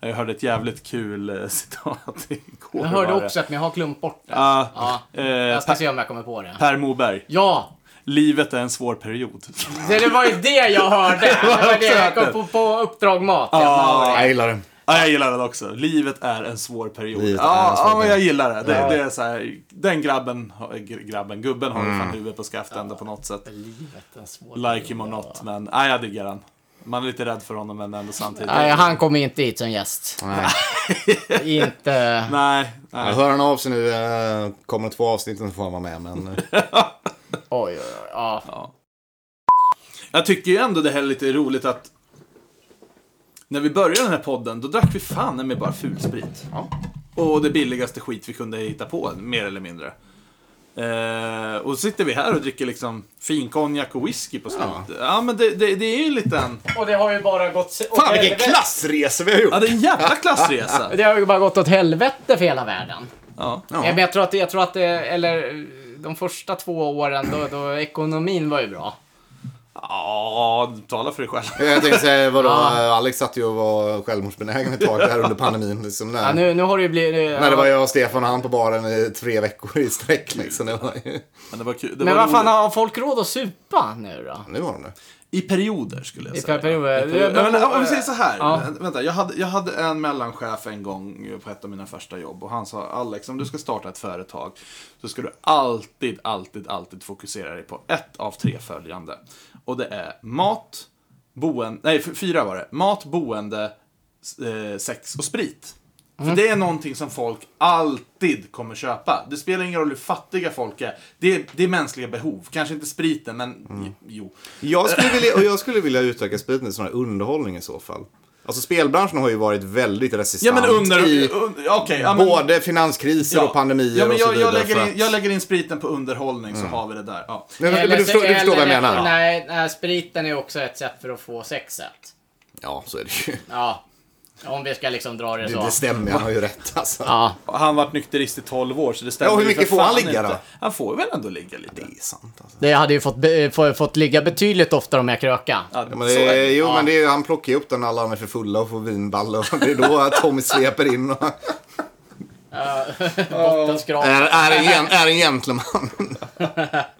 Jag hörde ett jävligt kul eh, citat igår.
Jag hörde
var det.
också att men jag har glömt bort det.
Ah,
Ja.
eh,
Jag ska
per,
se om jag kommer på det.
per Moberg.
Ja!
Livet är en svår period.
Det, det var ju det jag hörde. Det var det jag kom på, på Uppdrag Mat.
Ja.
Jag gillar det.
Ja, jag gillar den också. Livet är en svår period.
Livet är en
Ja,
svår
ja, men jag gillar det. Det,
Ja.
det är så här, den grabben, har- gr- grabben, gubben
Mm.
har ju fan huvudet på skaft ändå på något sätt.
Livet är svårt.
Like him or not, men nej, jag diggar den. Man är lite rädd för honom men ändå samtidigt.
Nej, han kommer inte hit som gäst.
Nej.
inte...
Nej,
Ja,
nej.
hör han av sig nu, eh, kommer två avsnitt så får han vara med. Men eh,
Oj, oj, oj. Ja.
Jag tycker ju ändå det här är lite roligt att när vi började den här podden, då drack vi fan med bara fulsprit. Och det billigaste skit vi kunde hitta på, mer eller mindre. Eh, och så sitter vi här och dricker liksom finkonjak och whisky på slutet. Ja, men det, det, det är ju en liten...
Och det har ju bara gått... se- åt
fan vilken
helvete.
klassresa vi har
Ja,
gjort!
det är en jävla klassresa.
Det har ju bara gått åt helvete för hela världen.
Ja.
Ja. Men jag tror att, jag tror att det, eller de första två åren då, då ekonomin var ju bra.
ja, tala för dig själv.
Jag tänkte säga, vadå, eh, Alex satt ju och var självmordsbenägen ett tag där under pandemin. Liksom, när,
Ja, nu, nu har det ju blivit...
när det var jag och Stefan och han på baren i tre veckor i sträck. Liksom. Det var, ju-
Men det var kul. Det
Men
var
vad fan,
roligt.
har folk råd att supa nu då?
nu var de det.
I perioder skulle jag
I
säga.
perioder.
Ja, men, om vi säger så här.
Eh, Ja.
Vänta, jag, hade, jag hade en mellanchef en gång på ett av mina första jobb och han sa Alex, om du ska starta ett företag så ska du alltid, alltid, alltid fokusera dig på ett av tre följande. Och det är mat, boende, nej f- fyra var det. Mat, boende, s- eh, sex och sprit. För det är någonting som folk alltid kommer köpa. Det spelar ingen roll hur fattiga folk är. Det är, det är mänskliga behov. Kanske inte spriten, men jo.
Jag skulle vilja, och jag skulle vilja utöka spriten till sån här underhållning i så fall. Alltså spelbranschen har ju varit väldigt
Ja
resistent
men under...
i
un- Okej, ja, men-
typ. både finanskriser och pandemier
ja, men jag,
och så
jag,
vidare. för
lägger in,
att- Mm.
jag lägger in spriten på underhållning så har vi det där. Ja.
Men, men, men du,
Eller-
förstår, du förstår vad jag
eller-
menar?
Nej, nej, spriten är också ett sätt för att få sexet.
Ja, så är det ju.
Ja, om vi ska liksom dra det
Det,
så.
det stämmer, han har ju rätt alltså.
Ja.
Han varit nykterist i 12 år så det stämmer
Ja, hur
ju för
mycket får
fan
han ligga
inte.
då?
Han får väl ändå ligga lite.
Det är sant alltså.
Det hade ju fått, be- få- fått ligga betydligt oftare om jag kröka.
Ja,
Ja, men
så
det,
är det.
jo, men det är, han plockar ju upp den när alla andra är för fulla och får vinballe. Och det är då Tommy sveper in och
Bottenskrap.
är, är, en, gen- är en gentleman.